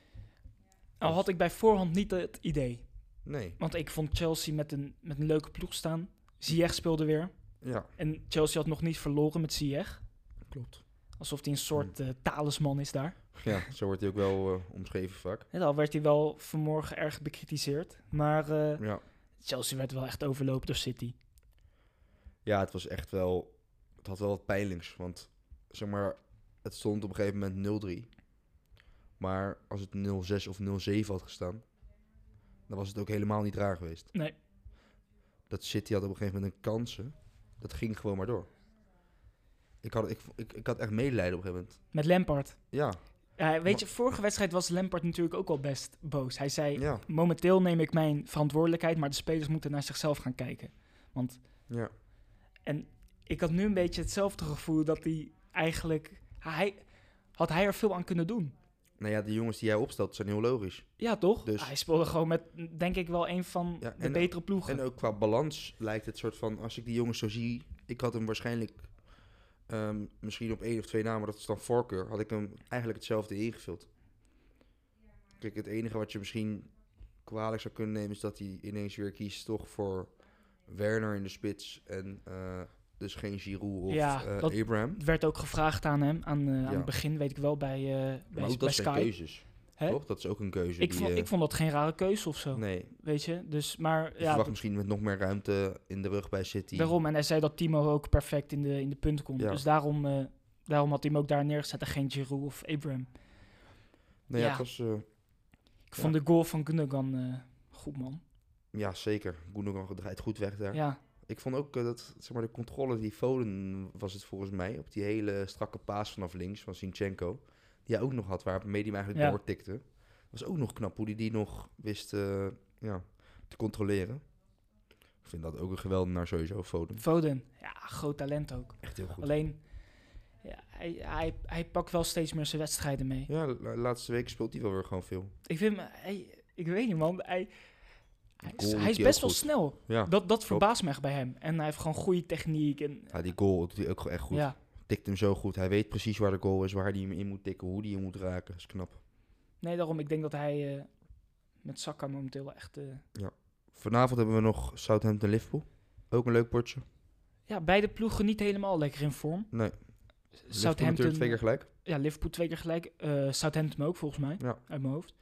Speaker 2: Al had ik bij voorhand niet het idee.
Speaker 1: Nee,
Speaker 2: Want ik vond Chelsea met een, met een leuke ploeg staan. Ziyech speelde weer.
Speaker 1: ja,
Speaker 2: En Chelsea had nog niet verloren met Ziyech.
Speaker 1: klopt.
Speaker 2: Alsof hij een soort
Speaker 1: Hmm.
Speaker 2: eh, talisman is daar.
Speaker 1: Ja, zo wordt hij ook wel eh, omschreven vaak.
Speaker 2: En al werd hij wel vanmorgen erg bekritiseerd. Maar eh,
Speaker 1: Ja.
Speaker 2: Chelsea werd wel echt overlopen door City.
Speaker 1: ja, het was echt wel... Het had wel wat pijnlijks, want zeg maar, het stond op een gegeven moment 0-3. Maar als het 0-6 of 0-7 had gestaan, dan was het ook helemaal niet raar geweest.
Speaker 2: Nee.
Speaker 1: dat City had op een gegeven moment een kansen. Dat ging gewoon maar door. Ik had, ik, ik, ik had echt medelijden op een gegeven moment.
Speaker 2: Met Lampard.
Speaker 1: Ja,
Speaker 2: Ja, weet je, vorige wedstrijd was Lampard natuurlijk ook al best boos. Hij zei,
Speaker 1: ja,
Speaker 2: momenteel neem ik mijn verantwoordelijkheid, maar de spelers moeten naar zichzelf gaan kijken. Want
Speaker 1: ja.
Speaker 2: ik had nu een beetje hetzelfde gevoel dat hij eigenlijk... Hij, had hij er veel aan kunnen doen.
Speaker 1: Nou ja, de jongens die jij opstelt zijn heel logisch.
Speaker 2: Ja, toch?
Speaker 1: Dus-
Speaker 2: Hij speelde gewoon met, denk ik, wel een van
Speaker 1: Ja,
Speaker 2: de
Speaker 1: en- eh,
Speaker 2: betere ploegen.
Speaker 1: En ook qua balans lijkt het soort van, als ik die jongens zo zie, ik had hem waarschijnlijk ehm, misschien op één of twee na, maar dat is dan voorkeur, had ik hem eigenlijk hetzelfde ingevuld. Kijk, het enige wat je misschien kwalijk zou kunnen nemen is dat hij ineens weer kiest toch voor Werner in de spits en eh, dus geen Giroud of
Speaker 2: Ja,
Speaker 1: eh,
Speaker 2: dat-
Speaker 1: Abraham.
Speaker 2: Het werd ook gevraagd aan hem, aan, eh, aan
Speaker 1: Ja.
Speaker 2: het begin, weet ik wel, bij, eh bij,
Speaker 1: Maar ook
Speaker 2: bij
Speaker 1: dat zijn
Speaker 2: Sky.
Speaker 1: keuzes,
Speaker 2: Hè?
Speaker 1: toch? Dat is ook een keuze.
Speaker 2: Ik
Speaker 1: die,
Speaker 2: vond,
Speaker 1: eh,
Speaker 2: ik vond dat geen rare keuze of zo,
Speaker 1: nee, je
Speaker 2: weet je. Dus, maar ja,
Speaker 1: verwacht misschien met nog meer ruimte in de rug bij City.
Speaker 2: daarom. En hij zei dat Timo ook perfect in de, in de punten kon.
Speaker 1: Ja.
Speaker 2: Dus daarom, eh, daarom had hij hem ook daar neergezet en geen Giroud of Abraham.
Speaker 1: Nou ja,
Speaker 2: Ja.
Speaker 1: het was, eh,
Speaker 2: Ik vond de goal van Gundogan eh, goed, man.
Speaker 1: ja zeker. Gundogan draait goed weg
Speaker 2: Ja.
Speaker 1: daar. Ik vond ook eh, dat zeg maar, de controle die Foden was het volgens mij op die hele strakke paas vanaf links van Sinchenko, die hij ook nog had, waarmee hij hem eigenlijk
Speaker 2: Ja.
Speaker 1: doortikte. Was ook nog knap hoe hij die nog wist eh, ja, te controleren. Ik vind dat ook een geweldenaar sowieso, Foden.
Speaker 2: Foden, ja, groot talent ook.
Speaker 1: Echt heel goed.
Speaker 2: Alleen, ja, hij, hij, hij pakt wel steeds meer zijn wedstrijden mee.
Speaker 1: Ja, la- laatste week speelt hij wel weer gewoon veel.
Speaker 2: Ik vind hem- hij- ik weet niet man, hij, hij,
Speaker 1: Goal
Speaker 2: is, hij
Speaker 1: doet
Speaker 2: is
Speaker 1: hij ook
Speaker 2: best wel
Speaker 1: goed. Ah,
Speaker 2: snel.
Speaker 1: Ja,
Speaker 2: Dat, dat verbaast me echt bij hem. En hij heeft gewoon goede techniek. En,
Speaker 1: ja die goal doet hij ook gewoon echt goed.
Speaker 2: Ja,
Speaker 1: tikt hem zo goed. Hij weet precies waar de goal is, waar hij hem in moet tikken, hoe hij hem moet raken. Dat is knap.
Speaker 2: Nee, daarom. Ik denk dat hij eh, met Saka momenteel wel echt... eh,
Speaker 1: Vanavond hebben we nog Southampton-Liverpool. Ook een leuk potje.
Speaker 2: ja, beide ploegen niet helemaal lekker in vorm.
Speaker 1: Nee, Liverpool natuurlijk
Speaker 2: Southampton...
Speaker 1: twee keer gelijk.
Speaker 2: Ja, Liverpool twee keer gelijk. eh, Southampton ook, volgens mij.
Speaker 1: Ja.
Speaker 2: Uit mijn hoofd.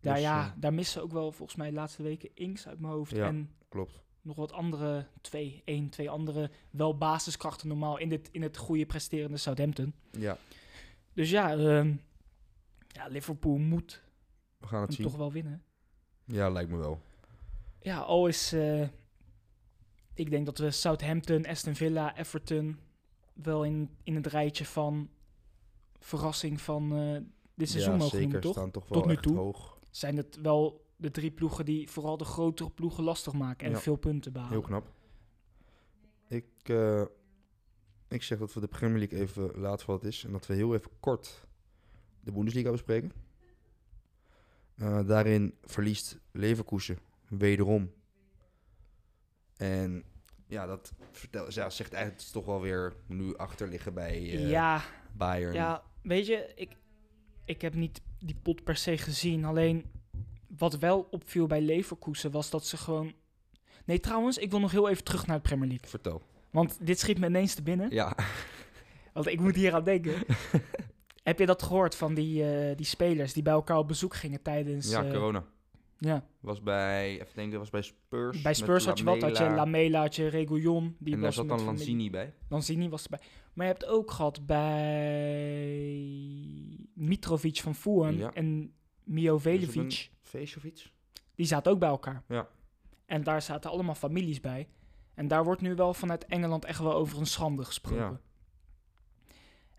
Speaker 2: Daar,
Speaker 1: Dus,
Speaker 2: ja,
Speaker 1: eh,
Speaker 2: daar missen ook wel volgens mij de laatste weken Inks uit mijn hoofd.
Speaker 1: Ja.
Speaker 2: En
Speaker 1: Klopt.
Speaker 2: nog wat andere, twee, één, twee andere wel basiskrachten normaal in, dit, in het goede presterende Southampton.
Speaker 1: eh, Ja,
Speaker 2: Dus ja, ehm, ja Liverpool moet
Speaker 1: we gaan het
Speaker 2: hem
Speaker 1: zien.
Speaker 2: toch wel winnen.
Speaker 1: Ja, lijkt me wel.
Speaker 2: Ja, al is... eh, ik denk dat we Southampton, Aston Villa, Everton... wel in, in het rijtje van verrassing van eh, dit seizoen
Speaker 1: ja,
Speaker 2: mogen
Speaker 1: zeker.
Speaker 2: noemen, toch?
Speaker 1: staan toch wel
Speaker 2: Tot nu
Speaker 1: echt
Speaker 2: toe.
Speaker 1: hoog.
Speaker 2: zijn het wel de drie ploegen die vooral de grotere ploegen lastig maken en
Speaker 1: Ja.
Speaker 2: veel punten behalen.
Speaker 1: Heel knap. Ik, eh, ik zeg dat we de Premier League even laten voor wat het is. En dat we heel even kort de Bundesliga bespreken. Eh, daarin verliest Leverkusen wederom. En ja, dat vertel, ja, zegt eigenlijk toch wel weer nu achterliggen bij eh,
Speaker 2: ja,
Speaker 1: Bayern.
Speaker 2: ja, weet je, ik, ik heb niet die pot per se gezien. Alleen wat wel opviel bij Leverkusen was dat ze gewoon. Nee, trouwens, ik wil nog heel even terug naar de Premier League.
Speaker 1: Vertel.
Speaker 2: Want dit schiet me ineens te binnen.
Speaker 1: Ja,
Speaker 2: Want ik moet hier aan denken. heb je dat gehoord van die, eh, die spelers die bij elkaar op bezoek gingen tijdens.
Speaker 1: ja
Speaker 2: eh,
Speaker 1: corona.
Speaker 2: ja.
Speaker 1: Was bij, even denken, was bij Spurs.
Speaker 2: Bij
Speaker 1: met
Speaker 2: Spurs had je wat? Had je
Speaker 1: Lamela.
Speaker 2: Lamela, had je Reguillon. Die
Speaker 1: En daar
Speaker 2: was
Speaker 1: zat
Speaker 2: met
Speaker 1: dan
Speaker 2: familie-
Speaker 1: Lanzini bij.
Speaker 2: Lanzini was erbij. Maar je hebt ook gehad bij Mitrovic van Fulham
Speaker 1: Ja.
Speaker 2: en Mio
Speaker 1: Dus op
Speaker 2: Velevic.
Speaker 1: een feestje of iets?
Speaker 2: Die zaten ook bij elkaar.
Speaker 1: Ja.
Speaker 2: En daar zaten allemaal families bij. En daar wordt nu wel vanuit Engeland echt wel over een schande gesproken.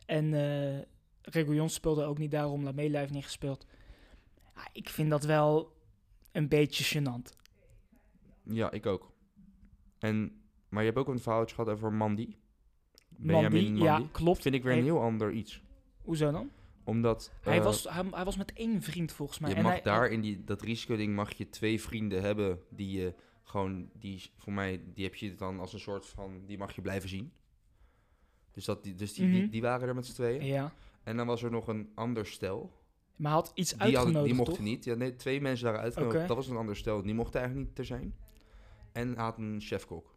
Speaker 2: En eh Reguillon speelde ook niet daarom. Lamela heeft niet gespeeld. Ja, ik vind dat wel een beetje gênant.
Speaker 1: Ja, ik ook. En, maar je hebt ook een verhaaltje gehad over Mandy. Benjamin Mandy.
Speaker 2: ja, klopt.
Speaker 1: Vind ik weer een
Speaker 2: Hij-
Speaker 1: heel ander iets.
Speaker 2: Hoezo dan?
Speaker 1: Omdat
Speaker 2: hij,
Speaker 1: eh,
Speaker 2: was, hij, hij was met één vriend volgens mij.
Speaker 1: je
Speaker 2: En
Speaker 1: mag
Speaker 2: hij-
Speaker 1: daar in die, dat risicoding mag je twee vrienden hebben die je gewoon, die is- voor mij, die heb je dan als een soort van, die mag je blijven zien. Dus, dat, die- dus die, die,
Speaker 2: Mhm.
Speaker 1: die waren er met z'n tweeën.
Speaker 2: Ja.
Speaker 1: En dan was er nog een ander stel.
Speaker 2: Maar hij had iets
Speaker 1: Die,
Speaker 2: uitgenodigd,
Speaker 1: hadden, die
Speaker 2: toch?
Speaker 1: mochten niet. Ja, nee, twee mensen waren uitgenodigd.
Speaker 2: Oké.
Speaker 1: Dat was een ander stel. Die mochten eigenlijk niet er zijn. En hij had een chefkok.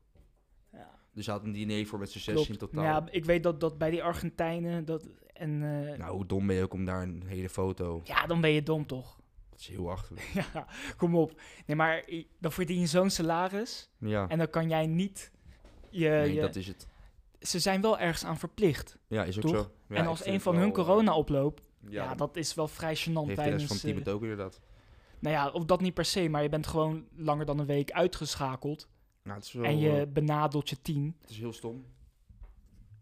Speaker 2: Ja.
Speaker 1: Dus hij had een diner voor met z'n zes
Speaker 2: Klopt.
Speaker 1: in totaal.
Speaker 2: Ja, ik weet dat, dat bij die Argentijnen... Dat, en, eh,
Speaker 1: Nou, hoe dom ben je ook om daar een hele foto...
Speaker 2: Ja, dan ben je dom, toch?
Speaker 1: Dat is heel achterlijk.
Speaker 2: ja, kom op. Nee, maar i- dan verdien je zo'n salaris...
Speaker 1: Ja,
Speaker 2: en dan kan jij niet... Je,
Speaker 1: nee,
Speaker 2: je-
Speaker 1: dat is het.
Speaker 2: Ze zijn wel ergens aan verplicht.
Speaker 1: Ja, is ook
Speaker 2: Toch?
Speaker 1: zo. Ja,
Speaker 2: en
Speaker 1: ik
Speaker 2: als
Speaker 1: vind
Speaker 2: een
Speaker 1: het
Speaker 2: van
Speaker 1: wel,
Speaker 2: hun
Speaker 1: eh,
Speaker 2: corona oploopt... Ja,
Speaker 1: dan
Speaker 2: dat is wel vrij gênant
Speaker 1: heeft de rest
Speaker 2: tijdens...
Speaker 1: van het team
Speaker 2: eh,
Speaker 1: het ook inderdaad.
Speaker 2: nou ja, of dat niet per se... maar je bent gewoon langer dan een week uitgeschakeld...
Speaker 1: Nou, het, is wel,
Speaker 2: en je
Speaker 1: eh,
Speaker 2: benadelt je team.
Speaker 1: het is heel stom.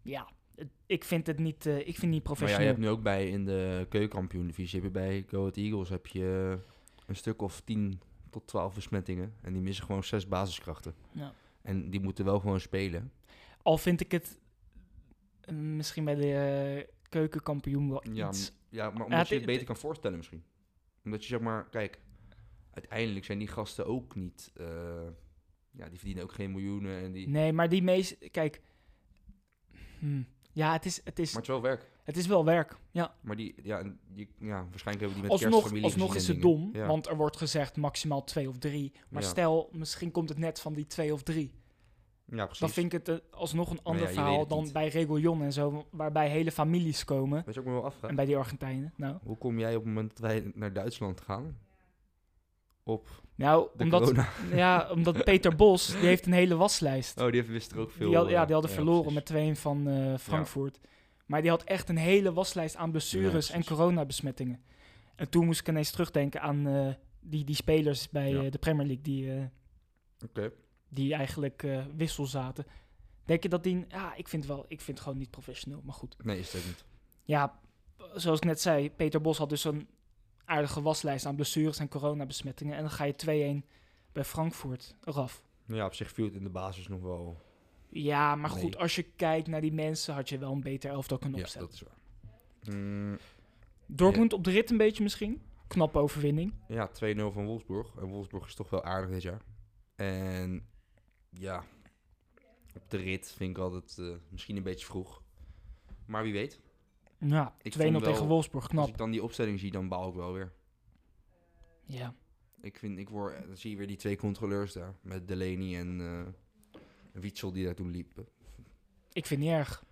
Speaker 2: Ja, het- ik vind het niet, eh, ik vind het
Speaker 1: Maar
Speaker 2: niet
Speaker 1: ja, je
Speaker 2: professioneel.
Speaker 1: hebt nu ook bij in de keukenkampioen-divisie... heb je bij Go Ahead Eagles heb je eh, een stuk of 10 tot 12 besmettingen. En die missen gewoon zes basiskrachten.
Speaker 2: Ja.
Speaker 1: En die moeten wel gewoon spelen.
Speaker 2: Al vind ik het eh, misschien bij de eh, keukenkampioen wel
Speaker 1: Ja,
Speaker 2: iets.
Speaker 1: m- ja maar
Speaker 2: Ja,
Speaker 1: omdat
Speaker 2: het-
Speaker 1: je het
Speaker 2: het-
Speaker 1: beter kan voorstellen misschien. Omdat je zeg maar, kijk, uiteindelijk zijn die gasten ook niet... eh, ja, die verdienen ook geen miljoenen en die...
Speaker 2: Nee, maar die meest... Kijk. Hm. Ja, het is, het, is,
Speaker 1: Maar het is wel werk.
Speaker 2: het is wel werk. Ja.
Speaker 1: Maar die, ja, en die, ja waarschijnlijk hebben die met
Speaker 2: Alsnog,
Speaker 1: kerstfamilie
Speaker 2: alsnog
Speaker 1: gezien
Speaker 2: is
Speaker 1: en
Speaker 2: het
Speaker 1: dingen.
Speaker 2: dom,
Speaker 1: Ja.
Speaker 2: want er wordt gezegd maximaal twee of drie. Maar
Speaker 1: Ja.
Speaker 2: stel, misschien komt het net van die twee of drie.
Speaker 1: Ja, precies.
Speaker 2: Dan vind ik het eh, alsnog een ander
Speaker 1: ja, je weet
Speaker 2: verhaal
Speaker 1: het
Speaker 2: dan
Speaker 1: niet.
Speaker 2: bij Reguillon en zo, waarbij hele families komen.
Speaker 1: Weet je ook me wel
Speaker 2: En
Speaker 1: afvragen?
Speaker 2: bij die Argentijnen. Nou,
Speaker 1: Hoe kom jij op het moment dat wij naar Duitsland gaan? Op
Speaker 2: nou
Speaker 1: de
Speaker 2: omdat,
Speaker 1: corona.
Speaker 2: ja, omdat Peter Bos, die heeft een hele waslijst.
Speaker 1: Oh, die hebben- wisten er ook veel.
Speaker 2: Die had- ja,
Speaker 1: eh,
Speaker 2: die hadden verloren
Speaker 1: precies.
Speaker 2: met 2-1 van eh, Frankfurt. Maar die had echt een hele waslijst aan
Speaker 1: Ja,
Speaker 2: blessures
Speaker 1: precies.
Speaker 2: en coronabesmettingen. En toen moest ik ineens terugdenken aan eh, die, die spelers bij
Speaker 1: Ja.
Speaker 2: eh, de Premier League die, eh,
Speaker 1: Oké.
Speaker 2: die eigenlijk eh, wissel zaten. Denk je dat die... Ja, ik vind, wel, ik vind het gewoon niet professioneel, maar goed.
Speaker 1: Nee, is dat niet.
Speaker 2: Ja, zoals ik net zei, Peter Bos had dus een aardige waslijst aan blessures en coronabesmettingen. En dan ga je 2-1 bij Frankfurt eraf.
Speaker 1: Ja, op zich viel het in de basis nog wel.
Speaker 2: Ja, maar
Speaker 1: Nee.
Speaker 2: goed, als je kijkt naar die mensen, had je wel een beter elftal kunnen
Speaker 1: Ja,
Speaker 2: opstellen.
Speaker 1: dat is waar. Mm,
Speaker 2: Dortmund op de rit een beetje misschien. Knappe overwinning.
Speaker 1: Ja, 2-0 van Wolfsburg. En Wolfsburg is toch wel aardig dit jaar. En ja, op de rit vind ik altijd eh, misschien een beetje vroeg. Maar wie weet.
Speaker 2: Ja, 2-0
Speaker 1: Ik vond wel-
Speaker 2: tegen Wolfsburg,
Speaker 1: Als
Speaker 2: knap.
Speaker 1: ik dan die opstelling zie, dan baal ik wel weer.
Speaker 2: Ja.
Speaker 1: Ik vind, ik word, dan zie je weer die twee controleurs daar. Met Delaney en eh, Witsel die daar toen liepen.
Speaker 2: Ik vind het niet erg.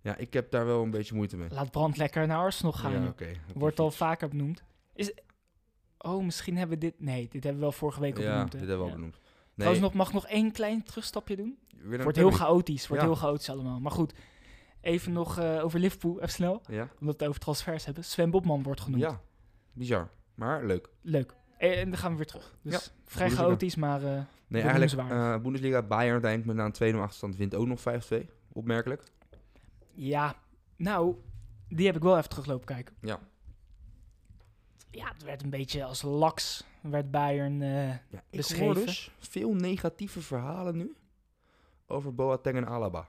Speaker 1: Ja, ik heb daar wel een beetje moeite mee.
Speaker 2: Laat Brand lekker naar Arsenal gaan.
Speaker 1: Ja,
Speaker 2: joh.
Speaker 1: oké. Op die
Speaker 2: Wordt al
Speaker 1: fiets.
Speaker 2: vaker benoemd. Is... Oh, misschien hebben we dit... Nee, dit hebben we wel vorige week al
Speaker 1: Ja,
Speaker 2: benoemd.
Speaker 1: dit
Speaker 2: hè?
Speaker 1: hebben we al
Speaker 2: Ja.
Speaker 1: benoemd.
Speaker 2: Trouwens, nog, mag ik nog één klein terugstapje doen?
Speaker 1: Willem
Speaker 2: wordt heel
Speaker 1: Timmy.
Speaker 2: chaotisch. Wordt
Speaker 1: Ja.
Speaker 2: heel chaotisch allemaal. Maar goed, even nog eh, over Liverpool, even snel.
Speaker 1: Ja,
Speaker 2: Omdat we het over transfers hebben. Sven Bobman wordt genoemd.
Speaker 1: ja, bizar. Maar leuk.
Speaker 2: Leuk. Eh, En, en dan gaan we weer terug. Dus vrij
Speaker 1: Bundesliga.
Speaker 2: chaotisch, maar eh,
Speaker 1: Nee,
Speaker 2: De
Speaker 1: eigenlijk,
Speaker 2: noemenswaardig.
Speaker 1: eh Bundesliga, Bayern uiteindelijk met na een 2-0 achterstand wint ook nog 5-2. Opmerkelijk.
Speaker 2: ja. Nou, die heb ik wel even teruglopen kijken.
Speaker 1: Ja.
Speaker 2: Ja, het werd een beetje als laks. Werd Bayern... eh,
Speaker 1: Ja, ik
Speaker 2: Beschreven.
Speaker 1: hoor dus veel negatieve verhalen nu over Boateng en Alaba.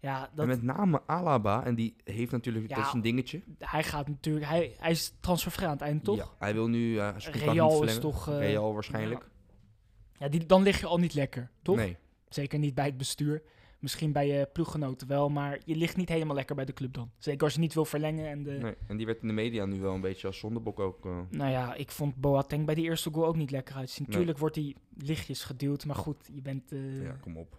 Speaker 2: ja,
Speaker 1: En
Speaker 2: dat,
Speaker 1: met name Alaba, en die heeft natuurlijk,
Speaker 2: Ja,
Speaker 1: dat is een dingetje.
Speaker 2: hij gaat natuurlijk... Hij, hij is transfervrij aan het einde, toch?
Speaker 1: Ja, hij wil nu eh zijn contract
Speaker 2: Real
Speaker 1: niet
Speaker 2: is
Speaker 1: verlengen.
Speaker 2: toch, eh,
Speaker 1: Real waarschijnlijk.
Speaker 2: Ja, die, dan lig je al niet lekker, toch?
Speaker 1: Nee,
Speaker 2: Zeker niet bij het bestuur. Misschien bij je ploeggenoten wel, maar je ligt niet helemaal lekker bij de club dan. Zeker als je niet wil verlengen. En de...
Speaker 1: nee. En die werd in de media nu wel een beetje als zondebok ook. eh,
Speaker 2: Nou ja, ik vond Boateng bij die eerste goal ook niet lekker uitzien.
Speaker 1: Nee. Oh.
Speaker 2: Tuurlijk wordt hij lichtjes geduwd, maar goed, je bent... eh,
Speaker 1: ja,
Speaker 2: ja.
Speaker 1: kom op.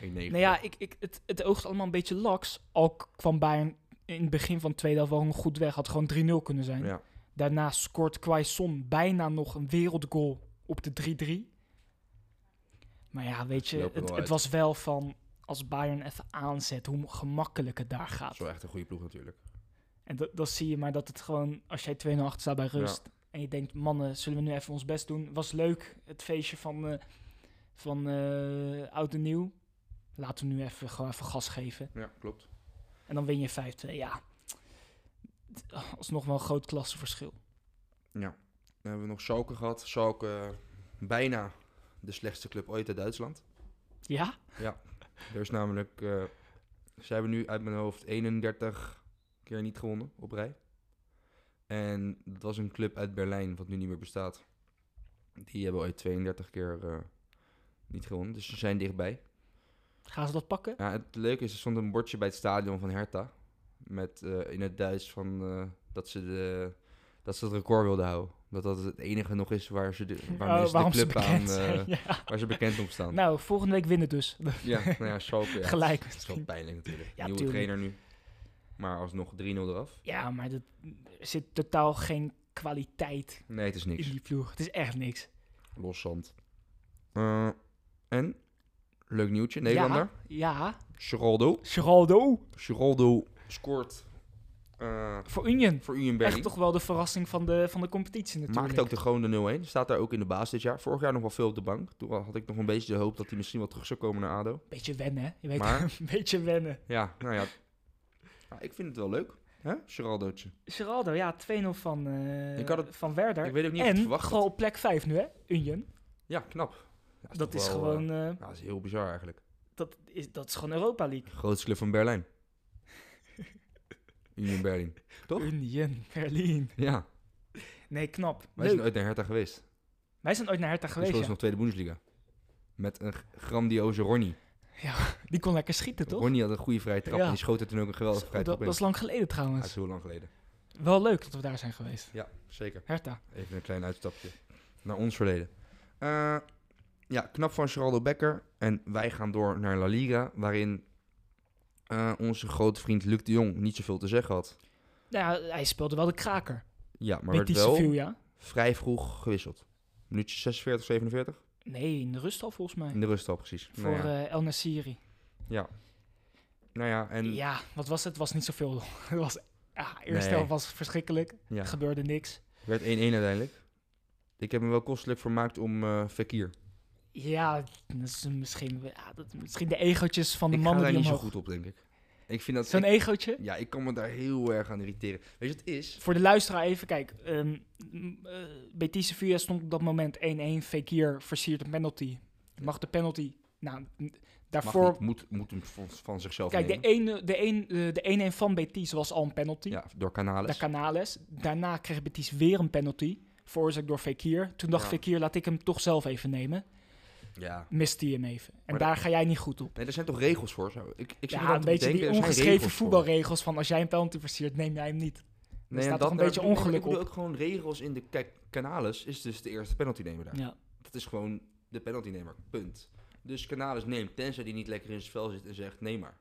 Speaker 1: 1
Speaker 2: Nou ja, ik, ik, het, het oogt allemaal een beetje laks. Al k- kwam Bayern in het begin van de tweede helft wel een goed weg. Had gewoon 3-0 kunnen zijn.
Speaker 1: Ja.
Speaker 2: Daarna scoort Quaison bijna nog een wereldgoal op de 3-3. Maar ja, weet je,
Speaker 1: Lopen we
Speaker 2: het,
Speaker 1: wel uit.
Speaker 2: het was wel van als Bayern even aanzet hoe gemakkelijk het daar
Speaker 1: Dat
Speaker 2: gaat.
Speaker 1: is wel echt een goede ploeg natuurlijk.
Speaker 2: En dat, dat zie je maar dat het gewoon, als jij 2-0 achter staat bij rust en je denkt, mannen, zullen we nu even ons best doen? Was leuk, het feestje van, eh, van eh, oud en nieuw. Laten we nu even, gewoon even gas geven.
Speaker 1: Ja, klopt.
Speaker 2: En dan win je 5-2. Ja, alsnog wel een groot klasseverschil.
Speaker 1: Dan hebben we nog Schalke gehad. Schalke, eh, bijna de slechtste club ooit uit Duitsland.
Speaker 2: Ja?
Speaker 1: Er is namelijk, eh, ze hebben nu uit mijn hoofd 31 keer niet gewonnen op rij. En dat was een club uit Berlijn, wat nu niet meer bestaat. Die hebben ooit 32 keer eh, niet gewonnen, dus ze zijn dichtbij.
Speaker 2: Gaan ze dat pakken?
Speaker 1: Ja, het leuke is, er stond een bordje bij het stadion van Hertha. Met eh, in het Duits van, eh, dat, ze de, dat ze het record wilden houden. Dat dat het enige nog is waar ze de, waarmee
Speaker 2: Oh,
Speaker 1: ze
Speaker 2: waarom
Speaker 1: de club
Speaker 2: ze bekend
Speaker 1: aan,
Speaker 2: zijn,
Speaker 1: eh,
Speaker 2: ja.
Speaker 1: waar ze bekend om staan.
Speaker 2: Nou, volgende week winnen dus.
Speaker 1: Ja, nou ja, Schalke. Ja.
Speaker 2: Gelijk
Speaker 1: Het is wel
Speaker 2: misschien.
Speaker 1: pijnlijk natuurlijk.
Speaker 2: Ja,
Speaker 1: Nieuwe
Speaker 2: tuurlijk.
Speaker 1: trainer nu. Maar alsnog 3-0 eraf.
Speaker 2: Ja, maar dat, er zit totaal geen kwaliteit
Speaker 1: Nee, het is
Speaker 2: in
Speaker 1: niks.
Speaker 2: die ploeg. Het is echt niks.
Speaker 1: Los zand. Eh, en? Leuk nieuwtje, Nederlander.
Speaker 2: Ja, ja.
Speaker 1: Geraldo.
Speaker 2: Geraldo
Speaker 1: Geraldo scoort eh,
Speaker 2: voor Union.
Speaker 1: voor Union
Speaker 2: Echt
Speaker 1: Berlin.
Speaker 2: toch wel de verrassing van de, van de competitie natuurlijk.
Speaker 1: Maakt ook de, gewoon de 0-1. Staat daar ook in de baas dit jaar. Vorig jaar nog wel veel op de bank. Toen had ik nog een beetje de hoop dat hij misschien wel terug zou komen naar ADO.
Speaker 2: Beetje wennen, hè? Je weet
Speaker 1: Maar-
Speaker 2: een beetje wennen.
Speaker 1: Ja, nou ja. Nou, ik vind het wel leuk. hè, Geraldootje.
Speaker 2: Geraldo, ja, 2-0 van, eh,
Speaker 1: Ik had het-
Speaker 2: van Werder.
Speaker 1: Ik weet ook niet of ik
Speaker 2: en
Speaker 1: het verwacht
Speaker 2: gewoon
Speaker 1: had.
Speaker 2: op plek 5 nu, hè? Union.
Speaker 1: Ja, knap. Ja,
Speaker 2: dat,
Speaker 1: toch
Speaker 2: is
Speaker 1: wel, eh,
Speaker 2: gewoon, eh,
Speaker 1: ja, dat is heel bizar eigenlijk.
Speaker 2: dat, is, dat is gewoon Europa League.
Speaker 1: Grootste club van Berlijn. Union Berlin. Toch?
Speaker 2: Union, Berlin.
Speaker 1: Ja,
Speaker 2: Nee, knap.
Speaker 1: wij
Speaker 2: Leuk.
Speaker 1: zijn ooit naar Hertha geweest. Toen
Speaker 2: Wij zijn ooit naar Hertha geweest,
Speaker 1: speelden
Speaker 2: ja.
Speaker 1: ze nog Tweede Bundesliga. Met een g- grandioze Ronnie.
Speaker 2: Die kon lekker schieten, toch?
Speaker 1: Ronnie had een goede vrije trap
Speaker 2: Ja.
Speaker 1: en die schoot er toen ook een geweldige
Speaker 2: dat,
Speaker 1: vrije trap
Speaker 2: dat
Speaker 1: in.
Speaker 2: is lang geleden
Speaker 1: Ja,
Speaker 2: trouwens.
Speaker 1: dat is heel lang geleden.
Speaker 2: Wel leuk dat we daar zijn geweest.
Speaker 1: Ja, zeker.
Speaker 2: Hertha.
Speaker 1: Even een klein uitstapje naar ons verleden. Eh, ja, knap van Geraldo Becker. En wij gaan door naar La Liga, waarin eh, onze grote vriend Luc de Jong niet zoveel te zeggen had.
Speaker 2: Nou ja, hij speelde wel de kraker.
Speaker 1: Ja, maar
Speaker 2: Met
Speaker 1: werd
Speaker 2: die
Speaker 1: wel
Speaker 2: Sevilla.
Speaker 1: vrij vroeg gewisseld. Minuutje 46, 47.
Speaker 2: Nee, in de rust al volgens mij.
Speaker 1: In de rust al, precies.
Speaker 2: Voor
Speaker 1: nou, ja.
Speaker 2: eh, El Nassiri.
Speaker 1: nou ja, en ja.
Speaker 2: Ja, wat was het? was niet zoveel. het was, ja, eerste
Speaker 1: Nee.
Speaker 2: helft was verschrikkelijk. Gebeurde niks.
Speaker 1: werd 1-1 uiteindelijk. Ik heb me wel kostelijk vermaakt om eh Fekir.
Speaker 2: Ja, dat is misschien, ja, dat, misschien de egootjes van de
Speaker 1: ik ga
Speaker 2: mannen
Speaker 1: daar
Speaker 2: die
Speaker 1: niet zo
Speaker 2: omhoog...
Speaker 1: goed op, denk ik. Ik vind dat...
Speaker 2: Zo'n
Speaker 1: ik-
Speaker 2: egootje?
Speaker 1: ja, ik kan me daar heel erg aan irriteren. Weet je wat het is?
Speaker 2: Voor de luisteraar even, kijk. ehm m, eh, Betis Sevilla stond op dat moment 1-1. Fekir versiert een penalty. Mag de penalty... Nou, n-
Speaker 1: Mag
Speaker 2: daarvoor...
Speaker 1: niet, moet, moet hem van, van zichzelf
Speaker 2: Kijk, de
Speaker 1: nemen.
Speaker 2: 1-1 ene, de een, eh, de 1-1 van Betis was al een penalty.
Speaker 1: Ja, door Canales.
Speaker 2: De Canales. Daarna kreeg Betis weer een penalty. Veroorzaakt door Fekir. Toen dacht
Speaker 1: Ja.
Speaker 2: Fekir, laat ik hem toch zelf even nemen.
Speaker 1: Ja.
Speaker 2: mist hij hem even. En
Speaker 1: Maar
Speaker 2: daar ga jij niet goed op.
Speaker 1: Nee, er zijn toch regels voor zo? Ik, ik zit
Speaker 2: Ja, een beetje die ongeschreven voetbalregels van als jij een penalty versiert, neem jij hem niet.
Speaker 1: Nee,
Speaker 2: staat
Speaker 1: en
Speaker 2: toch
Speaker 1: dat-
Speaker 2: een beetje
Speaker 1: daar- nee, maar
Speaker 2: ongeluk
Speaker 1: Ik bedoel
Speaker 2: op.
Speaker 1: ook gewoon regels in de... Kijk, Canales is dus de eerste penalty nemer daar.
Speaker 2: Ja.
Speaker 1: Dat is gewoon de penaltynemer, punt. Dus Canales neemt, tenzij die niet lekker in zijn vel zit en zegt, nee maar.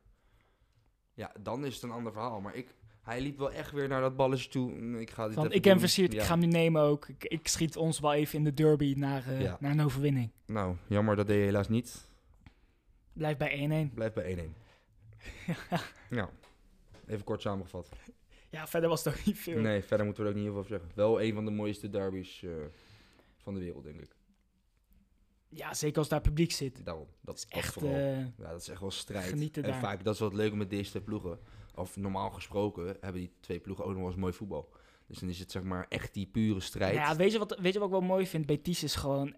Speaker 1: Ja, dan is het een ander verhaal. Maar ik, hij liep wel echt weer naar dat balletje toe. Mm, Ik ga dit
Speaker 2: Van,
Speaker 1: even
Speaker 2: ik ben
Speaker 1: doen.
Speaker 2: versierd,
Speaker 1: Ja.
Speaker 2: ik ga hem nu nemen ook. Ik, ik schiet ons wel even in de derby naar, eh,
Speaker 1: Ja.
Speaker 2: naar een overwinning.
Speaker 1: Nou, jammer, dat deed je helaas niet.
Speaker 2: Blijf bij 1-1.
Speaker 1: Blijf bij 1-1. Nou, even kort samengevat.
Speaker 2: Ja, verder was het ook niet veel.
Speaker 1: Nee, verder moeten we er ook niet heel veel over zeggen. Wel een van de mooiste derbies eh, van de wereld, denk ik.
Speaker 2: Ja, zeker als daar publiek zit. Het
Speaker 1: Daarom. Dat
Speaker 2: is
Speaker 1: dat
Speaker 2: echt...
Speaker 1: vooral.
Speaker 2: eh,
Speaker 1: Ja, dat is echt wel strijd.
Speaker 2: Genieten
Speaker 1: en
Speaker 2: daar.
Speaker 1: vaak, dat is wat leuk met deze twee ploegen. Of normaal gesproken hebben die twee ploegen ook nog wel eens mooi voetbal. Dus dan is het zeg maar echt die pure strijd.
Speaker 2: Nou ja, weet je, wat, weet je wat ik wel mooi vind? Betis is gewoon...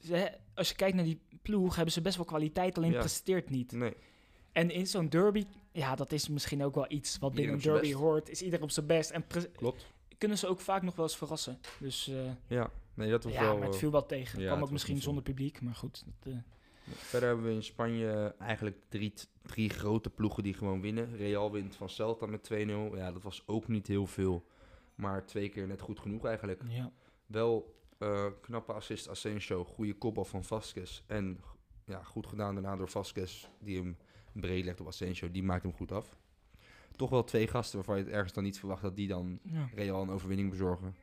Speaker 2: Ze, als je kijkt naar die ploeg, hebben ze best wel kwaliteit, alleen
Speaker 1: Ja.
Speaker 2: presteert niet.
Speaker 1: Nee,
Speaker 2: En in zo'n derby, ja, dat is misschien ook wel iets wat binnen
Speaker 1: Iedereen
Speaker 2: een
Speaker 1: op zijn
Speaker 2: derby
Speaker 1: best.
Speaker 2: hoort. Is iedereen op zijn best. En pre-
Speaker 1: klopt.
Speaker 2: kunnen ze ook vaak nog wel eens verrassen. Dus eh,
Speaker 1: Ja, nee, dat was
Speaker 2: ja,
Speaker 1: wel...
Speaker 2: maar het
Speaker 1: eh,
Speaker 2: viel wel tegen.
Speaker 1: ja,
Speaker 2: Kwam
Speaker 1: het
Speaker 2: ook
Speaker 1: was
Speaker 2: misschien
Speaker 1: niet zo.
Speaker 2: zonder publiek, maar goed. Dat, eh,
Speaker 1: Verder hebben we in Spanje eigenlijk drie, drie grote ploegen die gewoon winnen. Real wint van Celta met 2-0. Ja, dat was ook niet heel veel. Maar twee keer net goed genoeg eigenlijk.
Speaker 2: ja.
Speaker 1: Wel eh, knappe assist Asensio, goede kopbal van Vasquez. En g- ja, goed gedaan daarna door Vasquez, die hem breed legt op Asensio. Die maakt hem goed af. Toch wel twee gasten waarvan je het ergens dan niet verwacht dat die dan
Speaker 2: Ja.
Speaker 1: Real een overwinning bezorgen.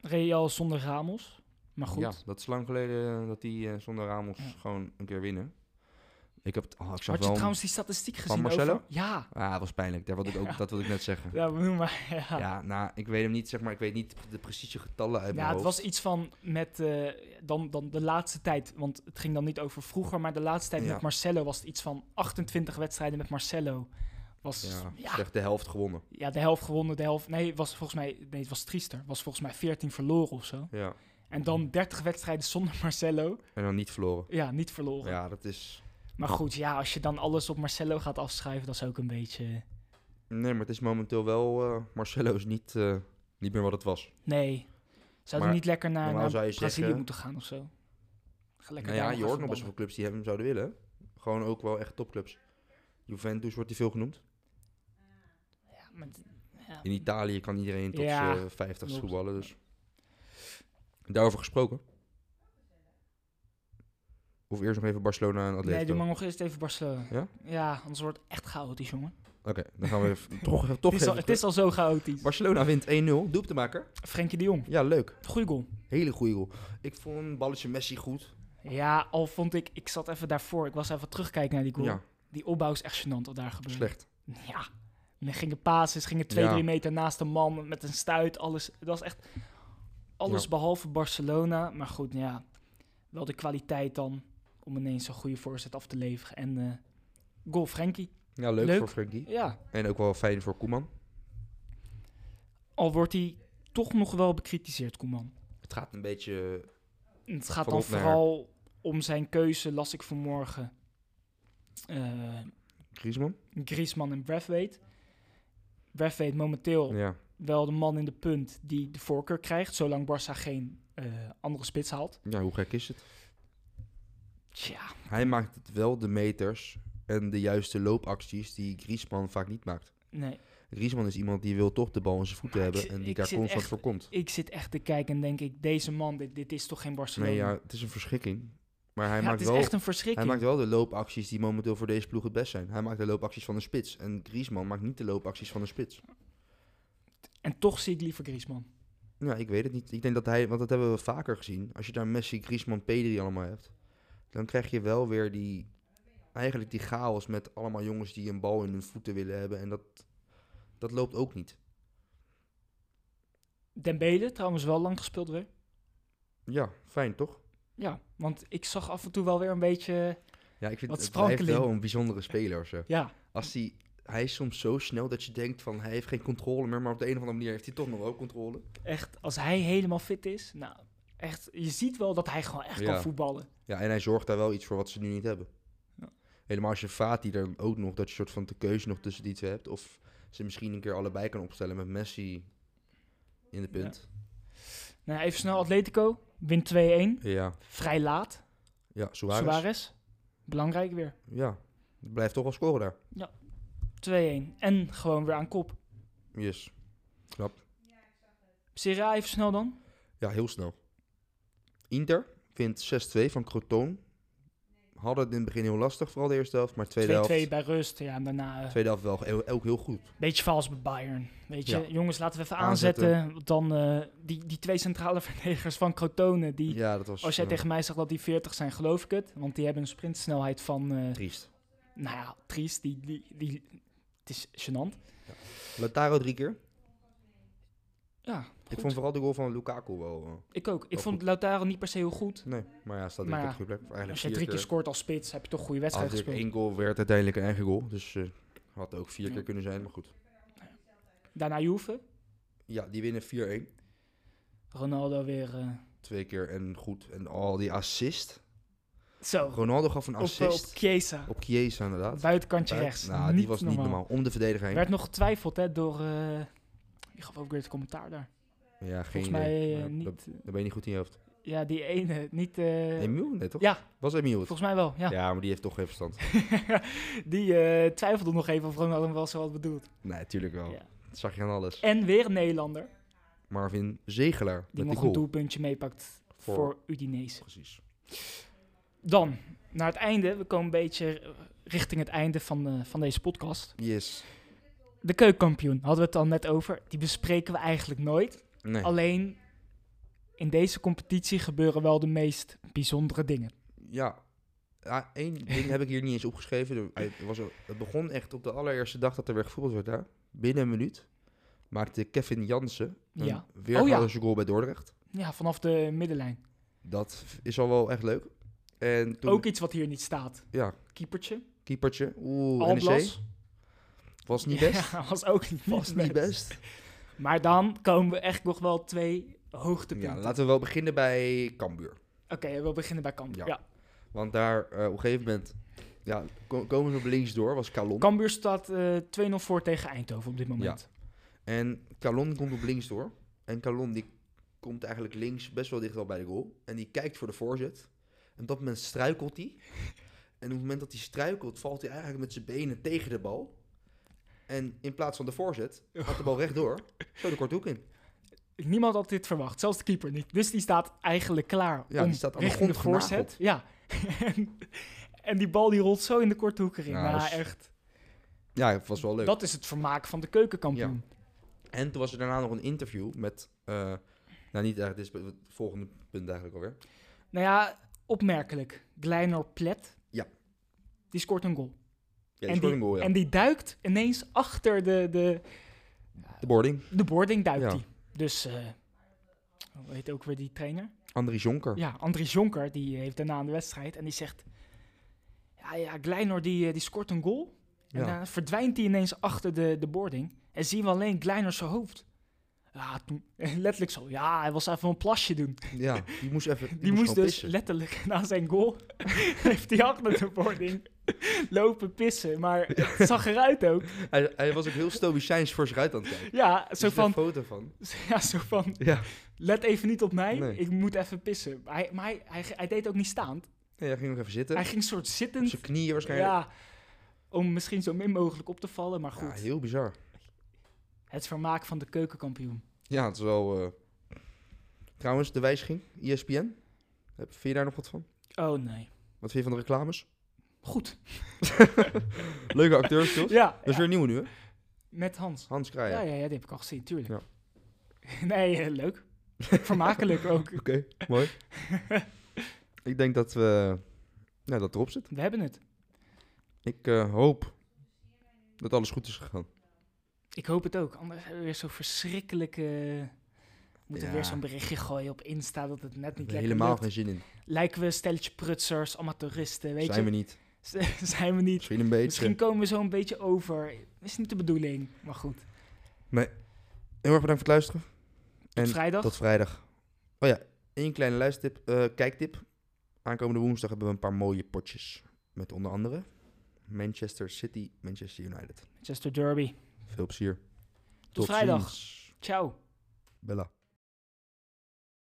Speaker 2: Real zonder Ramos. Maar goed.
Speaker 1: Ja, dat is lang geleden eh, dat die eh, zonder Ramos
Speaker 2: Ja.
Speaker 1: gewoon een keer winnen. Ik heb het, oh, ik zag
Speaker 2: Had je
Speaker 1: wel...
Speaker 2: trouwens die statistiek gezien
Speaker 1: Marcelo?
Speaker 2: over? Ja.
Speaker 1: Ah, dat was pijnlijk. Daar wilde ik ook,
Speaker 2: Ja.
Speaker 1: Dat wilde ik net zeggen. Ja.
Speaker 2: Ja, we noemen maar. Ja. Ja,
Speaker 1: nou, ik weet hem niet, zeg maar. Ik weet niet de precieze getallen uit mijn
Speaker 2: het
Speaker 1: hoofd.
Speaker 2: was iets van met eh, dan, dan de laatste tijd. Want het ging dan niet over vroeger, maar de laatste tijd
Speaker 1: Ja.
Speaker 2: met Marcelo was het iets van 28 wedstrijden met Marcelo. Was
Speaker 1: Ja,
Speaker 2: ja,
Speaker 1: slecht de helft gewonnen.
Speaker 2: Ja, de helft gewonnen, de helft. Nee, het was volgens mij. Nee, het was triester. Het was volgens mij 14 verloren of zo.
Speaker 1: Ja.
Speaker 2: En dan 30 wedstrijden zonder Marcelo.
Speaker 1: En dan niet verloren.
Speaker 2: Ja, niet verloren.
Speaker 1: Ja, dat is...
Speaker 2: Maar goed, ja, als je dan alles op Marcelo gaat afschrijven, dat is ook een beetje.
Speaker 1: Nee, maar het is momenteel wel... eh, Marcelo is niet, eh, niet meer wat het was.
Speaker 2: Nee. Zou
Speaker 1: Maar
Speaker 2: hij niet lekker naar,
Speaker 1: normaal
Speaker 2: naar
Speaker 1: zou je
Speaker 2: Brazilië
Speaker 1: zeggen-
Speaker 2: moeten gaan of zo? Ga lekker
Speaker 1: nou
Speaker 2: daar
Speaker 1: ja,
Speaker 2: nog
Speaker 1: je hoort
Speaker 2: even
Speaker 1: nog best wel
Speaker 2: ballen.
Speaker 1: clubs die hem zouden willen. Gewoon ook wel echt topclubs. Juventus wordt die veel genoemd.
Speaker 2: Ja, maar d- ja.
Speaker 1: In Italië kan iedereen tot
Speaker 2: Ja,
Speaker 1: zijn 50
Speaker 2: klopt.
Speaker 1: voetballen, dus... Daarover gesproken. Of eerst nog even Barcelona en Atletico.
Speaker 2: Nee, doe maar nog eerst even Barcelona.
Speaker 1: Ja?
Speaker 2: Ja, anders wordt het echt chaotisch, jongen.
Speaker 1: Oké, dan gaan we even, toch, eh, toch
Speaker 2: het, is al,
Speaker 1: even
Speaker 2: het is al zo chaotisch.
Speaker 1: Barcelona wint 1-0. Doelpuntmaker.
Speaker 2: Frenkie de Jong,
Speaker 1: Ja, leuk.
Speaker 2: goeie goal.
Speaker 1: Hele goede goal. Ik vond een balletje Messi goed.
Speaker 2: Ja, al vond ik, ik zat even daarvoor, ik was even terugkijken naar die goal.
Speaker 1: Ja,
Speaker 2: Die opbouw is echt gênant wat daar gebeurde.
Speaker 1: slecht.
Speaker 2: Ja. En er gingen pases, gingen twee,
Speaker 1: Ja.
Speaker 2: drie meter naast de man met een stuit. Alles, dat was echt alles
Speaker 1: Ja.
Speaker 2: behalve Barcelona. Maar goed, ja, wel de kwaliteit dan om ineens een goede voorzet af te leveren. En eh, goal Frenkie.
Speaker 1: Ja, leuk,
Speaker 2: Leuk.
Speaker 1: voor Frenkie.
Speaker 2: Ja,
Speaker 1: En ook wel fijn voor Koeman.
Speaker 2: al wordt hij toch nog wel bekritiseerd, Koeman.
Speaker 1: Het gaat een beetje...
Speaker 2: En Het gaat
Speaker 1: Van
Speaker 2: dan
Speaker 1: op naar-
Speaker 2: vooral om zijn keuze, las ik vanmorgen. Eh
Speaker 1: Griezmann?
Speaker 2: Griezmann en Braithwaite. Braithwaite momenteel
Speaker 1: Ja.
Speaker 2: wel de man in de punt die de voorkeur krijgt, zolang Barça geen eh, andere spits haalt.
Speaker 1: Ja, hoe gek is het?
Speaker 2: Tja,
Speaker 1: Hij maakt het wel de meters en de juiste loopacties die Griezmann vaak niet maakt.
Speaker 2: nee.
Speaker 1: Griezmann is iemand die wil toch de bal in zijn voeten
Speaker 2: Maar ik
Speaker 1: hebben
Speaker 2: zit-
Speaker 1: en die
Speaker 2: ik
Speaker 1: daar
Speaker 2: zit
Speaker 1: constant
Speaker 2: echt-
Speaker 1: voor komt.
Speaker 2: Ik zit echt te kijken en denk ik, deze man, dit, dit is toch geen Barcelona?
Speaker 1: Nee, ja, het is een verschrikking. Maar hij
Speaker 2: Ja,
Speaker 1: maakt
Speaker 2: het is
Speaker 1: wel
Speaker 2: echt een
Speaker 1: Hij
Speaker 2: verschrikking.
Speaker 1: maakt wel de loopacties die momenteel voor deze ploeg het best zijn. Hij maakt de loopacties van de spits. En Griezmann maakt niet de loopacties van de spits.
Speaker 2: En toch zie ik liever Griezmann.
Speaker 1: Nou, ik weet het niet. Ik denk dat hij, want dat hebben we vaker gezien. Als je daar Messi, Griezmann, Pedri allemaal hebt, dan krijg je wel weer die, eigenlijk die chaos met allemaal jongens die een bal in hun voeten willen hebben. En dat, dat loopt ook niet.
Speaker 2: Dembele trouwens wel lang gespeeld weer.
Speaker 1: Ja, fijn toch?
Speaker 2: Ja, want ik zag af en toe wel weer een beetje...
Speaker 1: Ja, ik vind
Speaker 2: Wat
Speaker 1: het blijft
Speaker 2: sprankeling.
Speaker 1: wel een bijzondere speler. Zo.
Speaker 2: Ja,
Speaker 1: Als hij, hij is soms zo snel dat je denkt van hij heeft geen controle meer, maar op de een of andere manier heeft hij toch nog wel controle.
Speaker 2: echt, als hij helemaal fit is, nou, echt, je ziet wel dat hij gewoon echt
Speaker 1: Ja.
Speaker 2: kan voetballen.
Speaker 1: Ja, en hij zorgt daar wel iets voor wat ze nu niet hebben.
Speaker 2: Ja.
Speaker 1: Helemaal als je Fati dan ook nog, dat je soort van de keuze nog tussen die twee hebt. Of ze misschien een keer allebei kan opstellen met Messi in de punt.
Speaker 2: Nou, even snel, Atletico, wint 2-1,
Speaker 1: Ja,
Speaker 2: vrij laat.
Speaker 1: Ja, Suarez.
Speaker 2: Suarez, belangrijk weer.
Speaker 1: Ja, blijft toch wel scoren daar.
Speaker 2: 2-1. En gewoon weer aan kop.
Speaker 1: Yes.
Speaker 2: Serie A even snel dan.
Speaker 1: Ja, heel snel. Inter wint 6-2 van Croton. Hadden het in het begin heel lastig, vooral de eerste helft. Maar
Speaker 2: 2-2
Speaker 1: tweede helft,
Speaker 2: bij rust. Ja, en daarna een
Speaker 1: tweede helft wel heel- ook heel goed.
Speaker 2: beetje vals bij Bayern. Weet je,
Speaker 1: Ja.
Speaker 2: jongens, laten we even
Speaker 1: Aanzetten.
Speaker 2: aanzetten. Want dan eh, die, die twee centrale verdedigers van Crotone. Die,
Speaker 1: Ja, dat was
Speaker 2: als jij
Speaker 1: eh,
Speaker 2: tegen mij zegt dat die 40 zijn, geloof ik het. Want die hebben een sprintsnelheid van, eh,
Speaker 1: triest.
Speaker 2: nou ja, triest. Die, die, die, het is gênant.
Speaker 1: Lautaro drie keer.
Speaker 2: Ja,
Speaker 1: Ik vond vooral de goal van Lukaku wel... eh,
Speaker 2: ik ook. Ik
Speaker 1: wel
Speaker 2: vond Lautaro niet per se heel goed.
Speaker 1: nee, maar ja, staat drie
Speaker 2: Maar
Speaker 1: keer
Speaker 2: ja,
Speaker 1: op de goede plek. Of eigenlijk
Speaker 2: Als je
Speaker 1: vier
Speaker 2: drie keer
Speaker 1: keer.
Speaker 2: scoort als spits, heb je toch een goede wedstrijd
Speaker 1: Had ik
Speaker 2: gespeeld.
Speaker 1: één goal werd uiteindelijk een eigen goal. Dus eh had ook vier
Speaker 2: Ja.
Speaker 1: keer kunnen zijn, maar goed.
Speaker 2: Daarna Juve.
Speaker 1: Ja, die winnen 4-1.
Speaker 2: Ronaldo weer... eh,
Speaker 1: Twee keer en goed. En al die assist.
Speaker 2: zo,
Speaker 1: Ronaldo gaf een
Speaker 2: op, eh, op
Speaker 1: assist. Op,
Speaker 2: Chiesa.
Speaker 1: Chiesa inderdaad.
Speaker 2: Buitenkantje
Speaker 1: Buiten-
Speaker 2: rechts.
Speaker 1: Nou,
Speaker 2: niet
Speaker 1: die was niet normaal. Om de verdediger
Speaker 2: Er
Speaker 1: heen.
Speaker 2: werd nog getwijfeld hè, door... eh, ik gaf ook weer het commentaar daar.
Speaker 1: Ja, geen
Speaker 2: Volgens mij
Speaker 1: idee.
Speaker 2: eh,
Speaker 1: Maar dat-
Speaker 2: niet...
Speaker 1: Dan ben je niet goed in je hoofd.
Speaker 2: ja, die ene. Niet... eh,
Speaker 1: Emiel net, toch?
Speaker 2: ja,
Speaker 1: Was Emiel het?
Speaker 2: volgens mij wel. Ja.
Speaker 1: Ja. maar die heeft toch geen verstand.
Speaker 2: die eh, twijfelde nog even of Ronaldo hem wel zo had bedoeld.
Speaker 1: nee, tuurlijk wel.
Speaker 2: Ja.
Speaker 1: Dat zag je aan alles.
Speaker 2: En weer een Nederlander.
Speaker 1: Marvin Zegelaar
Speaker 2: Die
Speaker 1: met die
Speaker 2: nog een
Speaker 1: goal.
Speaker 2: doelpuntje meepakt
Speaker 1: Voor-
Speaker 2: voor, Udinese.
Speaker 1: Precies.
Speaker 2: Dan, naar het einde. We komen een beetje eh, richting het einde van, eh, van deze podcast.
Speaker 1: Yes.
Speaker 2: De keukenkampioen, hadden we het al net over. Die bespreken we eigenlijk nooit.
Speaker 1: Nee.
Speaker 2: Alleen in deze competitie gebeuren wel de meest bijzondere dingen.
Speaker 1: Ja. ja één ding heb ik hier niet eens opgeschreven. Er- Het, was, het begon echt op de allereerste dag dat er weer gevoetbald werd daar. Binnen een minuut maakte Kevin Jansen een
Speaker 2: Ja.
Speaker 1: weergeloze goal bij Dordrecht.
Speaker 2: Ja, vanaf de middenlijn.
Speaker 1: Dat is al wel echt leuk. En toen,
Speaker 2: Ook iets wat hier niet staat.
Speaker 1: ja,
Speaker 2: Keepertje.
Speaker 1: keepertje. Oeh, NEC.
Speaker 2: Alblas.
Speaker 1: Was niet best.
Speaker 2: Ja, was ook niet,
Speaker 1: was niet
Speaker 2: best.
Speaker 1: best.
Speaker 2: Maar dan komen we echt nog wel twee hoogtepunten.
Speaker 1: Ja, laten we wel beginnen bij Cambuur.
Speaker 2: Oké, we beginnen bij
Speaker 1: Ja.
Speaker 2: Cambuur. Ja.
Speaker 1: Want daar eh, op een gegeven moment ja, ko- komen ze op links door, was Calon.
Speaker 2: Cambuur staat eh, 2-0 voor tegen Eindhoven op dit moment.
Speaker 1: En Calon komt op links door. En Calon die komt eigenlijk links best wel dicht al bij de goal. En die kijkt voor de voorzet. En op dat moment struikelt hij. En op het moment dat hij struikelt, valt hij eigenlijk met zijn benen tegen de bal. En in plaats van de voorzet, gaat de bal rechtdoor. Zo de korthoek in.
Speaker 2: Niemand had dit verwacht, zelfs de keeper niet. Dus die staat eigenlijk klaar
Speaker 1: Ja,
Speaker 2: om
Speaker 1: die staat aan de
Speaker 2: richting
Speaker 1: grond
Speaker 2: voorzet. Ja. en, en die bal die rolt zo in de korte hoek erin.
Speaker 1: Ja,
Speaker 2: Ja,
Speaker 1: dat is
Speaker 2: echt.
Speaker 1: Ja, het was wel leuk.
Speaker 2: Dat is het vermaak van de keukenkampioen.
Speaker 1: En toen was er daarna nog een interview met... eh, nou, niet eigenlijk, dit is het volgende punt eigenlijk alweer.
Speaker 2: Nou ja, opmerkelijk. Gleinor Plet.
Speaker 1: Ja.
Speaker 2: Die scoort een goal.
Speaker 1: Ja, die
Speaker 2: en,
Speaker 1: scoorde
Speaker 2: die,
Speaker 1: een goal, Oh ja.
Speaker 2: en die duikt ineens achter de, de,
Speaker 1: De boarding.
Speaker 2: de boarding duikt
Speaker 1: Ja.
Speaker 2: die. Dus, eh hoe heet ook weer die trainer?
Speaker 1: Andries Jonker.
Speaker 2: Ja, Andries Jonker, die heeft daarna aan de wedstrijd. En die zegt, ja, ja Gleinor die, eh, die scoort een goal. En
Speaker 1: Ja.
Speaker 2: dan verdwijnt hij ineens achter de, de boarding. En zien we alleen Gleinor zijn hoofd. Ja, toen, letterlijk zo. Ja, hij was even een plasje doen.
Speaker 1: Ja, die moest even...
Speaker 2: Die moest,
Speaker 1: gewoon
Speaker 2: dus
Speaker 1: pissen.
Speaker 2: letterlijk na zijn goal. heeft hij achter de boarding lopen pissen. Maar het zag eruit ook.
Speaker 1: Hij, hij was ook heel stoïcijns voor zich uit aan het kijken.
Speaker 2: Ja
Speaker 1: Er
Speaker 2: zo,
Speaker 1: is een
Speaker 2: van,
Speaker 1: foto van.
Speaker 2: Dus ja, zo van.
Speaker 1: Ja.
Speaker 2: Let even niet op mij.
Speaker 1: Nee.
Speaker 2: Ik moet even pissen. Maar Hij, maar hij, hij, hij deed ook niet staand.
Speaker 1: Nee, hij ging nog even zitten.
Speaker 2: Hij ging soort
Speaker 1: Op
Speaker 2: zittend.
Speaker 1: zijn knieën waarschijnlijk. Ja,
Speaker 2: Ja, om misschien zo min mogelijk op te vallen. Maar goed,
Speaker 1: heel bizar.
Speaker 2: het vermaak van de keukenkampioen.
Speaker 1: Ja, het is wel... eh, Trouwens, de wijziging. E ESPN. Heb- Vind je daar nog wat van?
Speaker 2: Oh nee.
Speaker 1: Wat vind je van de reclames?
Speaker 2: Goed.
Speaker 1: Leuke acteurs, toch?
Speaker 2: Ja,
Speaker 1: Dat is
Speaker 2: ja,
Speaker 1: weer een nieuwe nu, hè?
Speaker 2: met Hans.
Speaker 1: Hans
Speaker 2: Ja,
Speaker 1: Kraaien.
Speaker 2: ja, ja, die heb ik al gezien, tuurlijk. Nee, eh, leuk. Vermakelijk ook.
Speaker 1: Oké, mooi. ik denk dat we... Nou, dat erop zit.
Speaker 2: We hebben het.
Speaker 1: Ik eh, hoop dat alles goed is gegaan.
Speaker 2: Ik hoop het ook. Anders hebben we weer zo'n verschrikkelijke... Moeten we
Speaker 1: Ja.
Speaker 2: weer zo'n berichtje gooien op Insta dat het net
Speaker 1: Ik
Speaker 2: niet
Speaker 1: heb
Speaker 2: lekker
Speaker 1: helemaal
Speaker 2: lukt.
Speaker 1: geen zin in.
Speaker 2: Lijken we een stelletje prutsers, amateuristen, weet
Speaker 1: Zijn we
Speaker 2: je?
Speaker 1: niet.
Speaker 2: Zijn we niet.
Speaker 1: Misschien een beetje.
Speaker 2: Misschien komen we zo een beetje over. Is niet de bedoeling, maar goed.
Speaker 1: Heel erg bedankt voor het luisteren. En
Speaker 2: Vrijdag?
Speaker 1: Tot vrijdag. Oh ja, één kleine luistertip, eh, kijktip. Aankomende woensdag hebben we een paar mooie potjes. Met onder andere Manchester City, Manchester United.
Speaker 2: Manchester Derby.
Speaker 1: Veel plezier.
Speaker 2: vrijdag.
Speaker 1: ziens.
Speaker 2: Ciao.
Speaker 1: Bella.